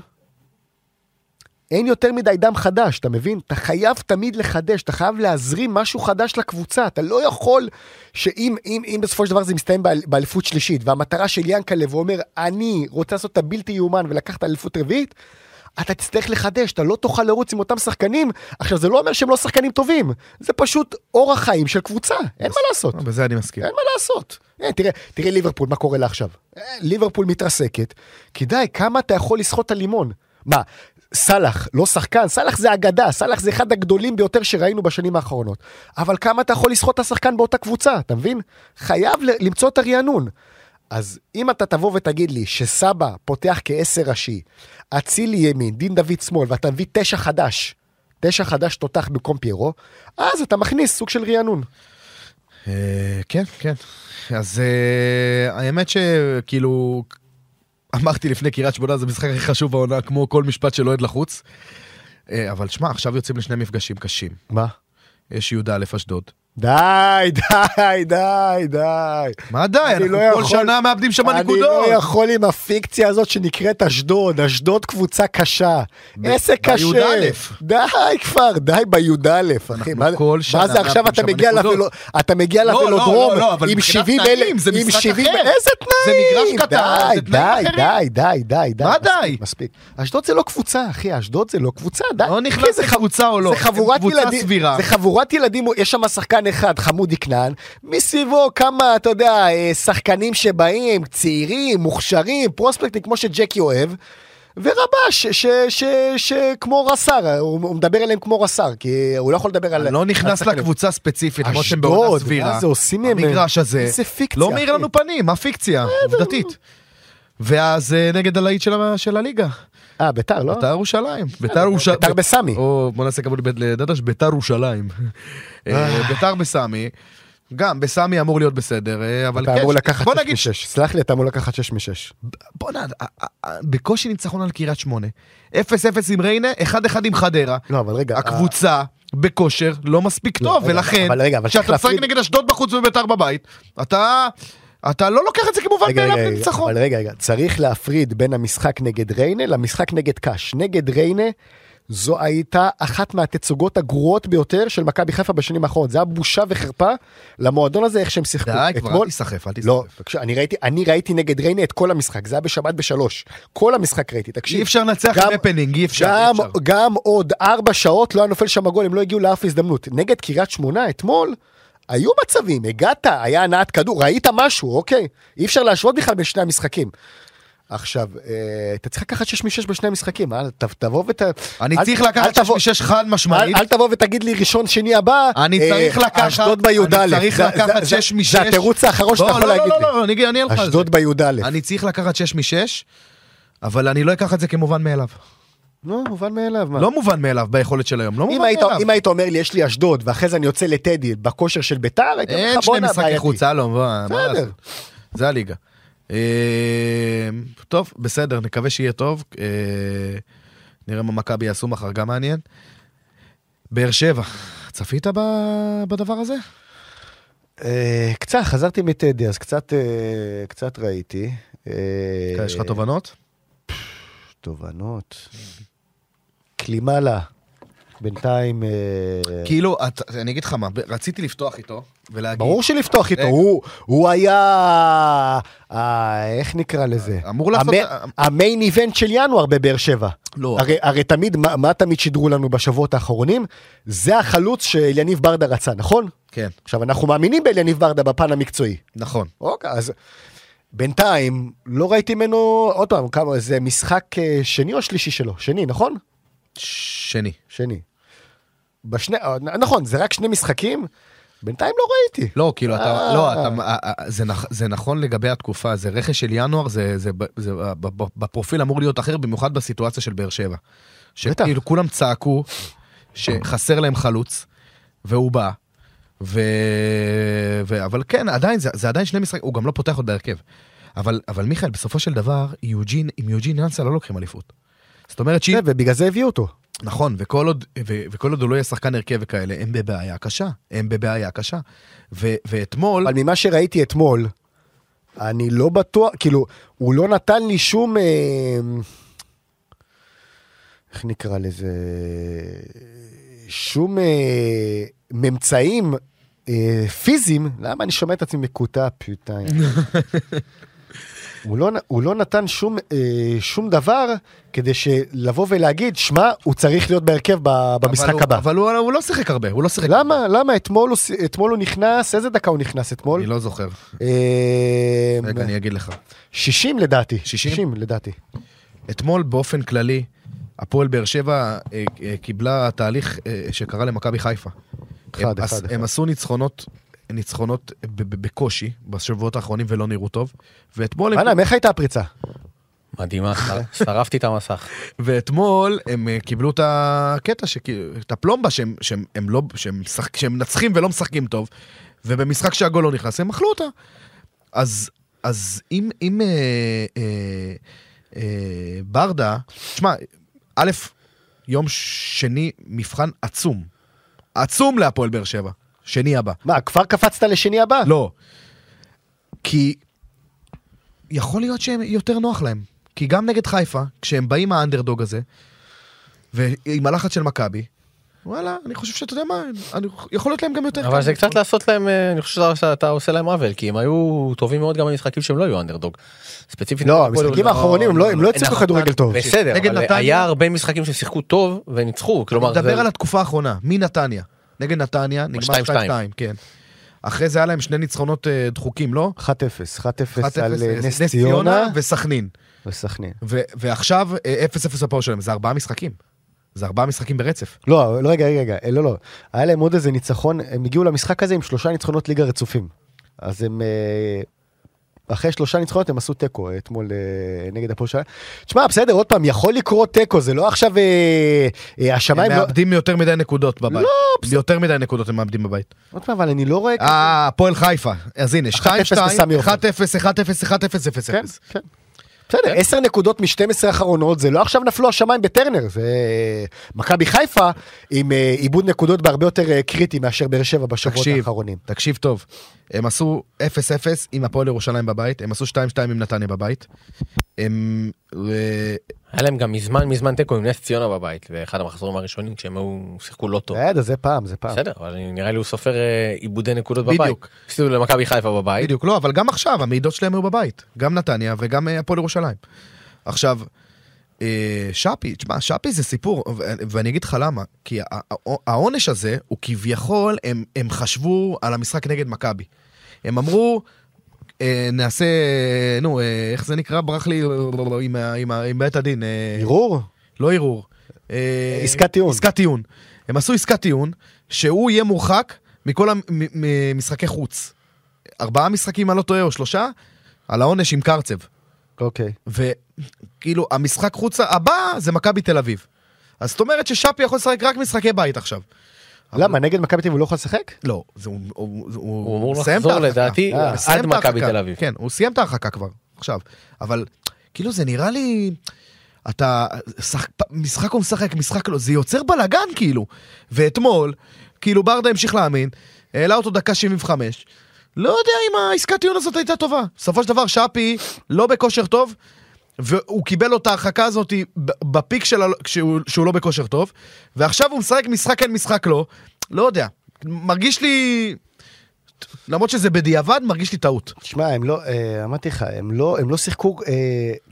אין יותר מדי דם חדש, אתה מבין? אתה חייב תמיד לחדש, אתה חייב להזרים משהו חדש לקבוצה. אתה לא יכול שאם אם, אם בסופו של דבר זה מסתיים באל- באליפות שלישית, והמטרה של ינקלה, והוא אומר, אני רוצה לעשות את הבלתי יאומן ולקחת אליפות רביעית, אתה תצטרך לחדש, אתה לא תוכל לרוץ עם אותם שחקנים. עכשיו, זה לא אומר שהם לא שחקנים טובים, זה פשוט אורח חיים של קבוצה, אין מה לעשות. אה, בזה אני מסכים. אין מה לעשות. אין, תראה, תראה ליברפול, מה קורה לה עכשיו. אה, ליברפול מתרסקת, כי די, כמה אתה יכול לסחוט את הלימון? מה, סאלח, לא שחקן, סאלח זה אגדה, סאלח זה אחד הגדולים ביותר שראינו בשנים האחרונות. אבל כמה אתה יכול לסחוט את השחקן באותה קבוצה, אתה מבין? חייב ל- למצוא את הרענון. אז אם אתה תבוא ותגיד לי שסבא פותח כעשר ראשי, אצילי ימין, דין דוד שמאל, ואתה מביא תשע חדש, תשע חדש תותח במקום פיירו, אז אתה מכניס סוג של רענון. אה, כן, כן. אז אה, האמת שכאילו, אמרתי לפני קריית שמונה, זה המשחק הכי חשוב בעונה, כמו כל משפט של אוהד לחוץ. אה, אבל שמע, עכשיו יוצאים לשני מפגשים קשים. מה? יש י"א אשדוד. די, די, די, די. מה די, אני אנחנו לא כל יכול- שנה מאבדים שם אני נקודות. לא יכול עם הפיקציה הזאת שנקראת אשדוד, אשדוד קבוצה קשה. ב- עסק קשה. בי"א. די כבר, די בי"א, אחי. מה כל שנה מה זה עכשיו מאבדים אתה שם מגיע נקודות. לוולו- אתה מגיע לא, לא, לוולודרום לא, לא, אבל עם מבחינת 70 תנאים, אלף, זה עם משחק 70 אחר. איזה זה תנאים? מגרש קטן, זה תנאים די, די, די, די, די. מה מספיק, די? מספיק. אשדוד זה לא קבוצה, אחי, אשדוד זה לא קבוצה, די. לא אחי, נכנס זה לקבוצה או לא. זה חבורת קבוצה ילדים, סבירה. זה חבורת ילדים, יש שם שחקן שחקן אחד, חמודי כנען, מסביבו כמה, אתה יודע, אה, שחקנים שבאים, צעירים, מוכשרים, פרוספקטים, כמו שג'קי אוהב, ורבש, שכמו רס"ר, הוא, הוא מדבר אליהם כמו רס"ר, כי הוא לא יכול לדבר על... אני לא נכנס השחקנים. לקבוצה ספציפית, למרות שהם בעונה אשדוד, מה סבירה. זה עושים מהם? המגרש הזה, איזה פיקציה. לא מאיר אחי. לנו פנים, מה פיקציה? עובדתית. ואז אה, נגד הלהיט של ה- של הליגה, אה, ביתר, לא? ביתר ירושלים. ביתר ירושלים. ביתר בסמי. או בוא נעשה כבוד לבית- לדדש, ביתר ירושלים. אה, ביתר בסמי. גם בסמי אמור להיות בסדר, אה, אבל אתה אמור כן, לקחת בוא 6 נגיד מ-6. סלח לי, אתה אמור לקחת 6 מ-6. בואנה, א- א- א- בקושי ניצחון על קריית שמונה. 0-0 עם ריינה, 1-1 עם חדרה. לא, אבל רגע. אה, הקבוצה בכושר לא מספיק לא, טוב, רגע, ולכן, אבל רגע, אבל צריך כשאתה משחק להפריד- נגד אשדוד בחוץ וביתר בבית, אתה אתה לא לוקח את זה כמובן רגע, מאליו רגע, רגע, לניצחון. אבל רגע, רגע, צריך להפריד בין המשחק נגד ריינה למשחק נגד קאש. נגד ריינה, זו הייתה אחת מהתצוגות הגרועות ביותר של מכבי חיפה בשנים האחרונות. זה היה בושה וחרפה למועדון הזה, איך שהם שיחקו. די, כבר, אל אתמול- תיסחף, אל לא, תיסחף. תקשיב, אני ראיתי, אני ראיתי נגד ריינה את כל המשחק, זה היה בשבת בשלוש. כל המשחק ראיתי, תקשיב. אי אפשר לנצח גם- עם הפנינג, אי אפשר. אי גם, אפשר. גם עוד ארבע שעות לא היה נופל שם גול, הם לא הגיעו לאף הזדמנות. נגד קריית שמונה אתמול, היו מצבים, הגעת, היה הנעת כדור, ראית משהו, אוקיי? אי אפשר להשוות בכלל בין שני המשחקים. עכשיו, אה, אתה צריך לקחת 6 מ-6 בשני המשחקים, אל ת- תבוא ות... אני אל- צריך אל לקחת תבוא- 6 מ חד משמעית. אל, אל תבוא ותגיד לי ראשון שני הבא, אני אה, צריך לקחת, אשדוד בי"א. אני צריך זה- לקחת זה- 6 מ-6. זה התירוץ האחרון שאתה יכול להגיד לא, לי. לא, לא, אני אגיד- אני אענה לך על זה. אשדוד בי"א. אני צריך לקחת 6 מ-6, אבל אני לא אקח את זה כמובן מאליו. נו, מובן מאליו, מה? לא מובן מאליו ביכולת של היום, לא אם מובן היית, מאליו. אם היית אומר לי יש לי אשדוד ואחרי זה אני יוצא לטדי בכושר של ביתר, הייתי אומר אין לך שני בואנה משחקי בעייתי. חוץ, הלום, מה מה בסדר. לעשות? זה הליגה. אה, טוב, בסדר, נקווה שיהיה טוב. אה, נראה מה מכבי יעשו מחר, גם מעניין. באר שבע, צפית ב- בדבר הזה? אה, קצת, חזרתי מטדי אז קצת, אה, קצת ראיתי. אה, כן, יש לך תובנות? תובנות. כלימה לה. בינתיים... אה, כאילו, את- אני אגיד לך מה, ב- רציתי לפתוח איתו ולהגיד... ברור שלפתוח איתו, רגע. הוא, הוא היה, אה, איך נקרא לזה? אמור לעשות- אמ- המ- המיין איבנט של ינואר בבאר שבע. לא. הרי, הרי תמיד, מה, מה תמיד שידרו לנו בשבועות האחרונים? זה החלוץ שאליניב ברדה רצה, נכון? כן, עכשיו, אנחנו מאמינים באליניב ברדה בפן המקצועי. נכון. אוקיי, אז בינתיים לא ראיתי ממנו, עוד פעם, כמה, זה משחק אה, שני או שלישי שלו? שני, נכון? שני. שני. בשני, אה, נכון, זה רק שני משחקים? בינתיים לא ראיתי. לא, כאילו, אתה, אה. לא, אתה, אה, אה, זה, נכ, זה נכון לגבי התקופה, זה רכש של ינואר, זה, זה, ב- זה ב- ב- בפרופיל אמור להיות אחר, במיוחד בסיטואציה של באר שבע. שכאילו כולם צעקו שחסר להם חלוץ, והוא בא. ו... ו... אבל כן, עדיין, זה, זה עדיין שני משחקים, הוא גם לא פותח עוד בהרכב. אבל, אבל מיכאל, בסופו של דבר, יוג'ין, עם יוג'ין יאנסה לא לוקחים אליפות. זאת אומרת שאם זה, ובגלל זה הביאו אותו. נכון, וכל עוד, ו, וכל עוד הוא לא יהיה שחקן הרכב וכאלה, הם בבעיה קשה. הם בבעיה קשה. ו, ואתמול... אבל ממה שראיתי אתמול, אני לא בטוח, כאילו, הוא לא נתן לי שום... אה, איך נקרא לזה? שום אה, ממצאים אה, פיזיים. למה אני שומע את עצמי מקוטע פיוטיים? הוא, לא, נ- הוא לא נתן שום, אה, שום דבר כדי שלבוא ולהגיד, שמע, הוא צריך להיות בהרכב ב- במשחק אבל הבא. הוא, אבל הוא, הוא לא שיחק הרבה, הוא לא שיחק. למה? למה? אתמול הוא, ס- אתמול הוא נכנס, איזה דקה הוא נכנס אתמול? אני לא זוכר. אה, רגע, אני אגיד לך. 60 לדעתי. 60? 60 לדעתי. אתמול באופן כללי, הפועל באר שבע אה, אה, קיבלה תהליך אה, שקרה למכבי חיפה. אחד, הם, אחד, עש- אחד. הם עשו ניצחונות, ניצחונות ב- ב- בקושי בשבועות האחרונים ולא נראו טוב. ואתמול הם, וואלה, מאיך הייתה הפריצה? מדהימה, אה. שר- שרפתי את המסך. ואתמול הם אה, קיבלו את הקטע, שכאילו- את הפלומבה שהם, שהם, הם לא, שהם, שח, שהם מנצחים ולא משחקים טוב, ובמשחק שהגול לא נכנס הם אכלו אותה. אז, אז אם, אם אה, אה, אה, ברדה, תשמע, א', יום שני מבחן עצום, עצום להפועל באר שבע, שני הבא. מה, כבר קפצת לשני הבא? לא. כי יכול להיות שהם יותר נוח להם. כי גם נגד חיפה, כשהם באים מהאנדרדוג הזה, ועם הלחץ של מכבי, וואלה, אני חושב שאתה יודע מה, אני, יכול להיות להם גם יותר אבל זה קצת לעשות להם, אה, אני חושב שאתה עושה להם עוול, כי הם היו טובים מאוד גם במשחקים שהם לא היו אנדרדוג. ספציפית. לא, הפועל המשחקים ירושלים. האחרונים הם לא- הם לא הצליחו נכון, כדורגל טוב. בסדר, נגד אבל נתניה- היה הרבה משחקים ששיחקו טוב וניצחו, כלומר, דבר זה- על התקופה האחרונה, מנתניה. נגד נתניה, נגמר 2-2. 2-2, כן. אחרי זה היה להם שני ניצחונות אה, דחוקים, לא? 1-0, 1-0, 1-0 על אה, נס ציונה וסכנין. וסכנין. ו- ועכשיו אה, 0-0 הפועל שלהם, זה ארבעה משחקים. זה ארבעה משחקים ברצף. לא, לא, רגע, רגע, רגע, אה, לא, לא. היה להם עוד איזה ניצחון, הם הגיעו למשחק הזה עם שלושה ניצחונות ליגה רצופים. אז הם... אה, אחרי שלושה ניצחונות הם עשו תיקו אה, אתמול אה, נגד הפועל שלהם. תשמע, בסדר, עוד פעם, יכול לקרות תיקו, זה לא עכשיו אה, אה, הם השמיים... לא... מאבדים יותר מדי נקודות בבית. לא, יותר מדי נקודות הם מאבדים בבית. עוד פעם, אבל אני לא רואה... אה, הפועל חיפה. אז הנה, 1-0 2-2, 1-0, 1-0, בסמי עופר. 1-0, 0-0. כן, כן. בסדר, 10 נקודות מ-12 האחרונות, זה לא עכשיו נפלו השמיים בטרנר, זה אה, מכבי חיפה עם אה, עיבוד נקודות בהרבה יותר אה, קריטי מאשר באר שבע בשבועות תקשיב, האחרונים. תקשיב טוב. הם עשו 0-0 עם הפועל ירושלים בבית, הם עשו 2-2 עם נתניה בבית. הם... אה, היה להם גם מזמן מזמן תיקו עם נס ציונה בבית, באחד המחזורים הראשונים כשהם היו, שיחקו לא טוב. בסדר, אה, זה פעם, זה פעם. בסדר, אבל נראה לי הוא סופר אה, עיבודי נקודות בבית. בדיוק. הפסידו למכבי חיפה בבית. בדיוק, לא, אבל גם עכשיו, המעידות שלהם היו בבית. גם נתניה וגם אה, הפועל ירושלים. עכשיו, אה, שפי, תשמע, שפי זה סיפור, ו- ואני אגיד לך למה. כי ה- ה- העונש הזה הוא כביכול, הם, הם חשבו על המשחק נגד מכבי. הם אמרו, אה, נעשה, אה, נו, אה, איך זה נקרא? ברח לי אה, עם, ה- עם, ה- עם בית הדין. אה, ערעור? לא ערעור. אה, עסקת טיעון. עסקת טיעון. הם עשו עסקת טיעון, שהוא יהיה מורחק מכל המשחקי חוץ. ארבעה משחקים, אני לא טועה, או שלושה, על העונש עם קרצב. אוקיי. וכאילו, המשחק חוץ הבא זה מכבי תל אביב. אז זאת אומרת ששאפי יכול לשחק רק משחקי בית עכשיו. אבל- למה, נגד מכבי תל אביב הוא לא יכול לשחק? לא, זה, הוא, הוא, הוא, הוא אמור מסיים את לחזור ההרחקה. לדעתי אה, סיים עד את ההרחקה. מכבי תל אביב. כן, הוא סיים את ההרחקה כבר, עכשיו. אבל כאילו זה נראה לי... אתה... שח... משחק הוא משחק, משחק לא, זה יוצר בלאגן כאילו. ואתמול, כאילו ברדה המשיך להאמין, העלה אותו דקה 75. לא יודע אם העסקת טיעון הזאת הייתה טובה. בסופו של דבר שפי לא בכושר טוב, והוא קיבל לו את ההרחקה הזאת ב- בפיק שלה כשהוא, שהוא לא בכושר טוב, ועכשיו הוא משחק משחק כן משחק לא, לא יודע. מרגיש לי... למרות שזה בדיעבד, מרגיש לי טעות. תשמע, הם לא, אה, אמרתי לך, הם לא, הם לא שיחקו אה,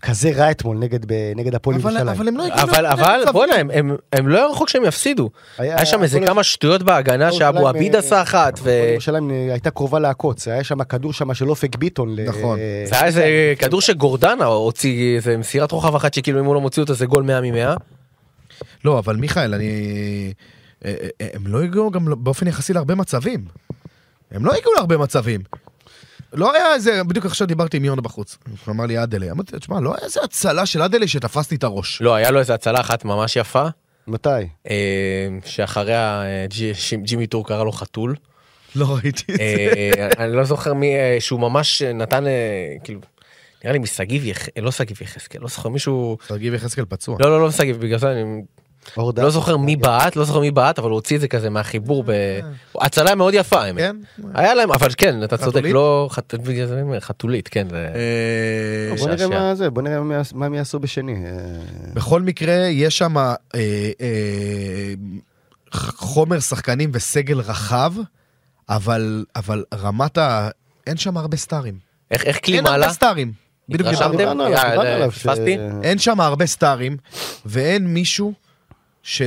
כזה רע אתמול נגד, ב- נגד הפועל אבל, ירושלים. אבל הם לא הגיעו אבל למצבים. אבל בואנה הם- הם הם לא הרחוק שהם יפסידו. היה- היה שם איזה הפועל- כמה שטויות בהגנה הפועל שאבו ירושלים, עביד אה, עשה אחת ו... הפועל ירושלים אה, הייתה קרובה לעקוץ, היה שם כדור שם של אופק ביטון. ל- נכון. אה, זה היה איזה כדור שגורדנה הוציא איזה מסירת רוחב אחת שכאילו אם הוא לא מוציא אותה זה גול 100 מ-100. לא, אבל מיכאל, אני... אה, אה, הם לא הגיעו גם לא- באופן יחסי להרבה מצבים. הם לא הגיעו להרבה מצבים. לא היה איזה, בדיוק עכשיו דיברתי עם יונה בחוץ. הוא אמר לי אדלי, אמרתי לו, תשמע, לא היה איזה הצלה של אדלי שתפסתי את הראש. לא, היה לו איזה הצלה אחת ממש יפה, מתי? אה, שאחריה אה, ג'י- ש- ג'ימי טור קרא לו חתול. לא ראיתי את זה. אה, אני לא זוכר מי, אה, שהוא ממש אה, נתן, אה, כאילו, נראה לי משגיב יחזקאל, לא שגיב יחזקאל, לא זוכר מישהו, תרגיב יחזקאל פצוע. לא, לא, לא משגיב, בגלל זה אני אור דהן? לא זוכר מי בעט, לא זוכר מי בעט, אבל הוא הוציא את זה כזה מהחיבור, ב- הצלה מאוד יפה, האמת. כן? היה להם, אבל כן, אתה צודק, חתולית? לא, חת- בגלל זה אני אומר, חתולית, כן, זה- אה, בוא נראה שעשע. מה זה, בוא נראה מה יעש- מה הם יעשו בשני. אה, בכל מקרה, יש שם אה, אה, ח- חומר שחקנים וסגל רחב, אבל, אבל רמת ה... אין שם הרבה סטארים. איך- איך קלימה אין עלה? הרבה סטארים. בדיוק התרשמת? דיברנו. דיברנו עליו, אה, דיברנו עליו ש- פספסתי? אין שם הרבה סטארים, ואין מישהו ש...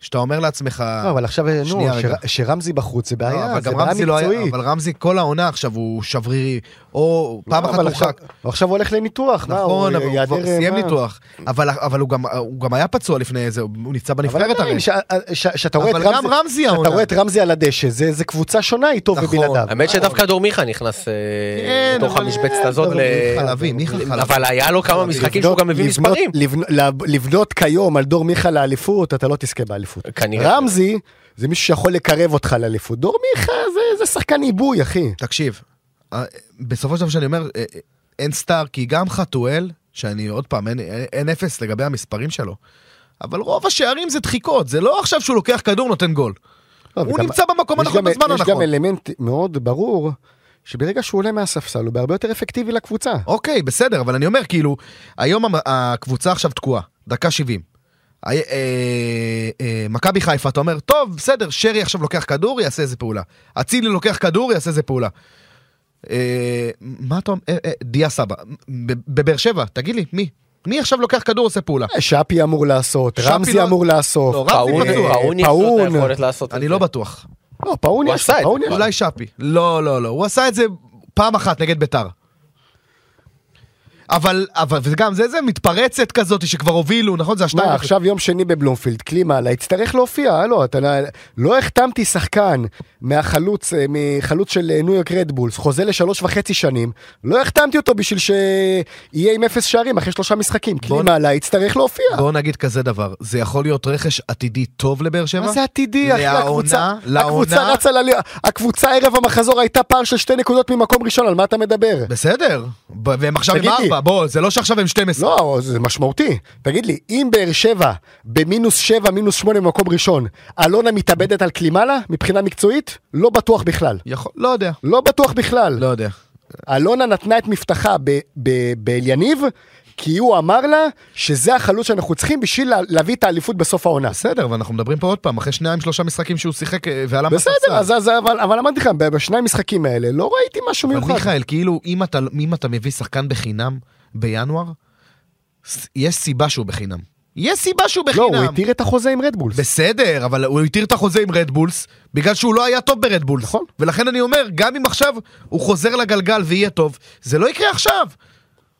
שאתה אומר לעצמך... לא, אבל עכשיו, נו, שנייה, שר- רגע. שרמזי בחוץ זה לא, בעיה, אבל זה גם בעיה רמזי לא היה, מקצועית. אבל רמזי כל העונה עכשיו הוא שברירי, או פעם לא, אחת אבל הוא עכשיו- לא, חק, הוא עכשיו הולך לניתוח, מה, נכון, אבל הוא יעדר, אה, כבר סיים מה? ניתוח, אבל אבל הוא גם- הוא גם היה פצוע לפני איזה, הוא נפצע אבל בנבחרת הרי, עדיין, ש- אה, ש- שאתה רואה את אבל גם רמזי, רמזי אתה העונה. רואה את רמזי על הדשא, זה זה קבוצה שונה איתו נכון. ובלעדיו. האמת שדווקא דור מיכה נכנס אה, כן, לתוך אבל- המשבצת הזאת, אבל ל- מיכה חלבי, מיכה חלבי. אבל היה לו כמה משחקים שהוא לבנות- גם מביא לבנות- מספרים. לבנ- לב- לבנות כיום על דור מיכה לאליפות, אתה לא תזכה באליפות. כנראה. רמזי זה מישהו שיכול לקרב אותך לאליפות. דור מיכה זה- זה שחקן עיבוי, אחי. תקשיב, אה, בסופו של דבר שאני אומר, אה, אה, אין סטאר, כי גם חתואל, שאני עוד פעם, אין, אין, אין אפס לגבי המספרים שלו, אבל רוב השערים זה דחיקות, זה לא עכשיו שהוא לוקח כדור נותן גול. לא, הוא וגם- נמצא במקום יש הנכון גם- בזמן יש גם הנכון. אלמנט מאוד ברור, שברגע שהוא עולה מהספסל הוא בהרבה יותר אפקטיבי לקבוצה. אוקיי, בסדר, אבל אני אומר, כאילו, היום המ- הקבוצה עכשיו תקועה, דקה 70. אה, אה, אה, מכבי חיפה, אתה אומר, טוב, בסדר, שרי עכשיו לוקח כדור, יעשה איזה פעולה. אצילי לוקח כדור, יעשה איזה פעולה. אה, מה אתה אומר? אה, אה, דיה סבא, ב- בבאר שבע, תגיד לי, מי? מי עכשיו לוקח כדור עושה פעולה? אה, שפי אמור לעשות, שפי רמזי לא- אמור לעשות. לא, רמזי פאון רמזי פצוע. פאון אה, יש לו את פאון. היכולת לעשות את אני זה. לא בטוח. לא, פאון הוא יש עשה לו, את פאון זה. יש לו. אולי שפי. לא, לא, לא. הוא עשה את זה פעם אחת נגד ביתר. אבל, אבל, וגם זה, זה מתפרצת כזאת שכבר הובילו, נכון? זה השתיים. מה, עכשיו יום שני בבלומפילד, קלימאלה, יצטרך להופיע, הלו, אתה לא- לא החתמתי שחקן מהחלוץ, אה, מחלוץ של אה, ניו יורק רדבולס, חוזה לשלוש וחצי שנים, לא החתמתי אותו בשביל שיהיה עם אפס שערים אחרי שלושה משחקים, קלימאלה יצטרך להופיע. בואו נגיד כזה דבר, זה יכול להיות רכש עתידי טוב לבאר שבע? מה זה עתידי, אחי, לעונה- הקבוצה, לעונה- הקבוצה רצה, ללי- הקבוצה ערב המחזור הייתה פער של שתי נקודות ממקום ראשון, על מה אתה מדבר? בסדר, ב- והם עכשיו עם תגיד לי. ארבע, בוא, זה לא שעכשיו הם 12. לא, זה משמעותי. תגיד לי, אם באר שבע במינוס שבע, מינוס שמונה במקום ראשון, אלונה מתאבדת על קלימלה מבחינה מקצועית? לא בטוח בכלל. יכול, לא יודע. לא בטוח בכלל. לא יודע. אלונה נתנה את מבטחה ב- ב- באליניב, כי הוא אמר לה שזה החלוץ שאנחנו צריכים בשביל לה- להביא את האליפות בסוף העונה. בסדר, אבל אנחנו מדברים פה עוד פעם, אחרי שניים שלושה משחקים שהוא שיחק אה, ועלה מהספסל. בסדר, אז, אז, אבל, אבל אמרתי לך, ב- בשני המשחקים האלה לא ראיתי משהו אבל מיוחד. מיכאל, כאילו, אם אתה, אם אתה מביא שחקן בחינם בינואר, ס- יש סיבה שהוא בחינם. יש סיבה שהוא לא, הוא בחינם. התיר את החוזה עם רדבולס. בסדר, אבל הוא התיר את החוזה עם רדבולס, בגלל שהוא לא היה טוב ברדבולס. נכון. ולכן אני אומר, גם אם עכשיו הוא חוזר לגלגל ויהיה טוב, זה לא יקרה עכשיו.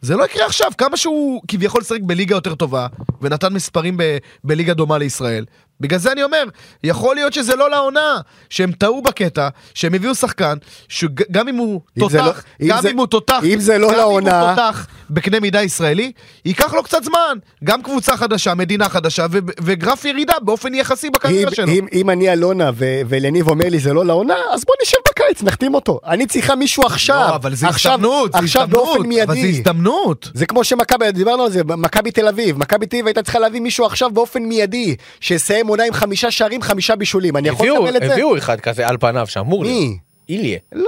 זה לא יקרה עכשיו, כמה שהוא כביכול שיחק בליגה יותר טובה, ונתן מספרים ב- בליגה דומה לישראל. בגלל זה אני אומר, יכול להיות שזה לא לעונה, שהם טעו בקטע, שהם הביאו שחקן, שגם אם הוא אם זה תותח, לא- אם גם זה- אם הוא תותח, אם זה לא גם אם לעונה- הוא תותח בקנה מידה ישראלי, ייקח לו קצת זמן. גם קבוצה חדשה, מדינה חדשה, ו- וגרף ירידה באופן יחסי אם, בקריירה שלו. אם, אם אני אלונה ו- ולניב אומר לי זה לא לעונה, אז בוא נשב בקיץ, נחתים אותו. אני צריכה מישהו עכשיו. לא, אבל זה עכשיו, הזדמנות, זה עכשיו הזדמנות, באופן מיידי. אבל זה הזדמנות. זה כמו שמכבי, דיברנו על זה, מכבי תל אביב. מכבי תל אביב הייתה צריכה להביא מישהו עכשיו באופן מיידי, שיסיים עונה עם חמישה שערים, חמישה בישולים. אני יכול הביאו- לקבל את זה? הביאו אחד כזה על פניו שאמור להיות. מי? איליה. לא,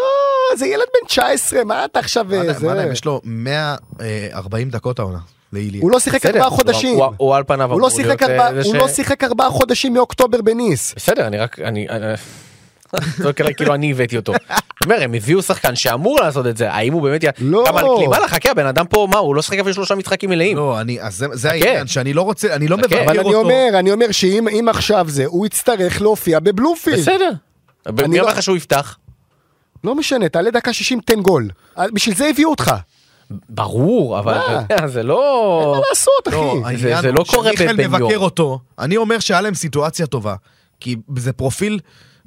זה ילד בן 19, מה אתה עכשיו... מה אה, להם, זה- מה להם, יש לו 140 דקות העונה, לאיליה. הוא לא שיחק בסדר, ארבעה הוא- חודשים. הוא- הוא על פניו הוא לא אמור להיות, שיחק אה, ארבעה- זה הוא ש- לא שיחק ארבעה חודשים מאוקטובר בניס. בסדר, אני רק, אני, אני- זה לא קרה כאילו אני הבאתי אותו. אני אומר, הם הביאו שחקן שאמור לעשות את זה, האם הוא באמת, י- לא. גם על קלימה חכה, הבן אדם פה, מה, הוא לא שחק אפילו שלושה משחקים מלאים. לא, אני, אז זה, זה חכה. העניין, שאני לא רוצה, אני לא חכה. מבקר אבל אותו. אני אומר, אני אומר שאם אם עכשיו זה, הוא יצטרך להופיע בבלומפילד. בסדר. מי לא- אמר לך שהוא יפתח? לא משנה, תעלה דקה 60, תן גול. אה, בשביל זה הביאו אותך. ברור, אבל מה? אתה יודע, זה לא... מה לעשות, אחי? אני- העניין זה- זה הוא לא קורה שמיכאל בבן יום. מבקר אותו, אני אומר שהיה להם סיטואציה טובה, כי זה פרופיל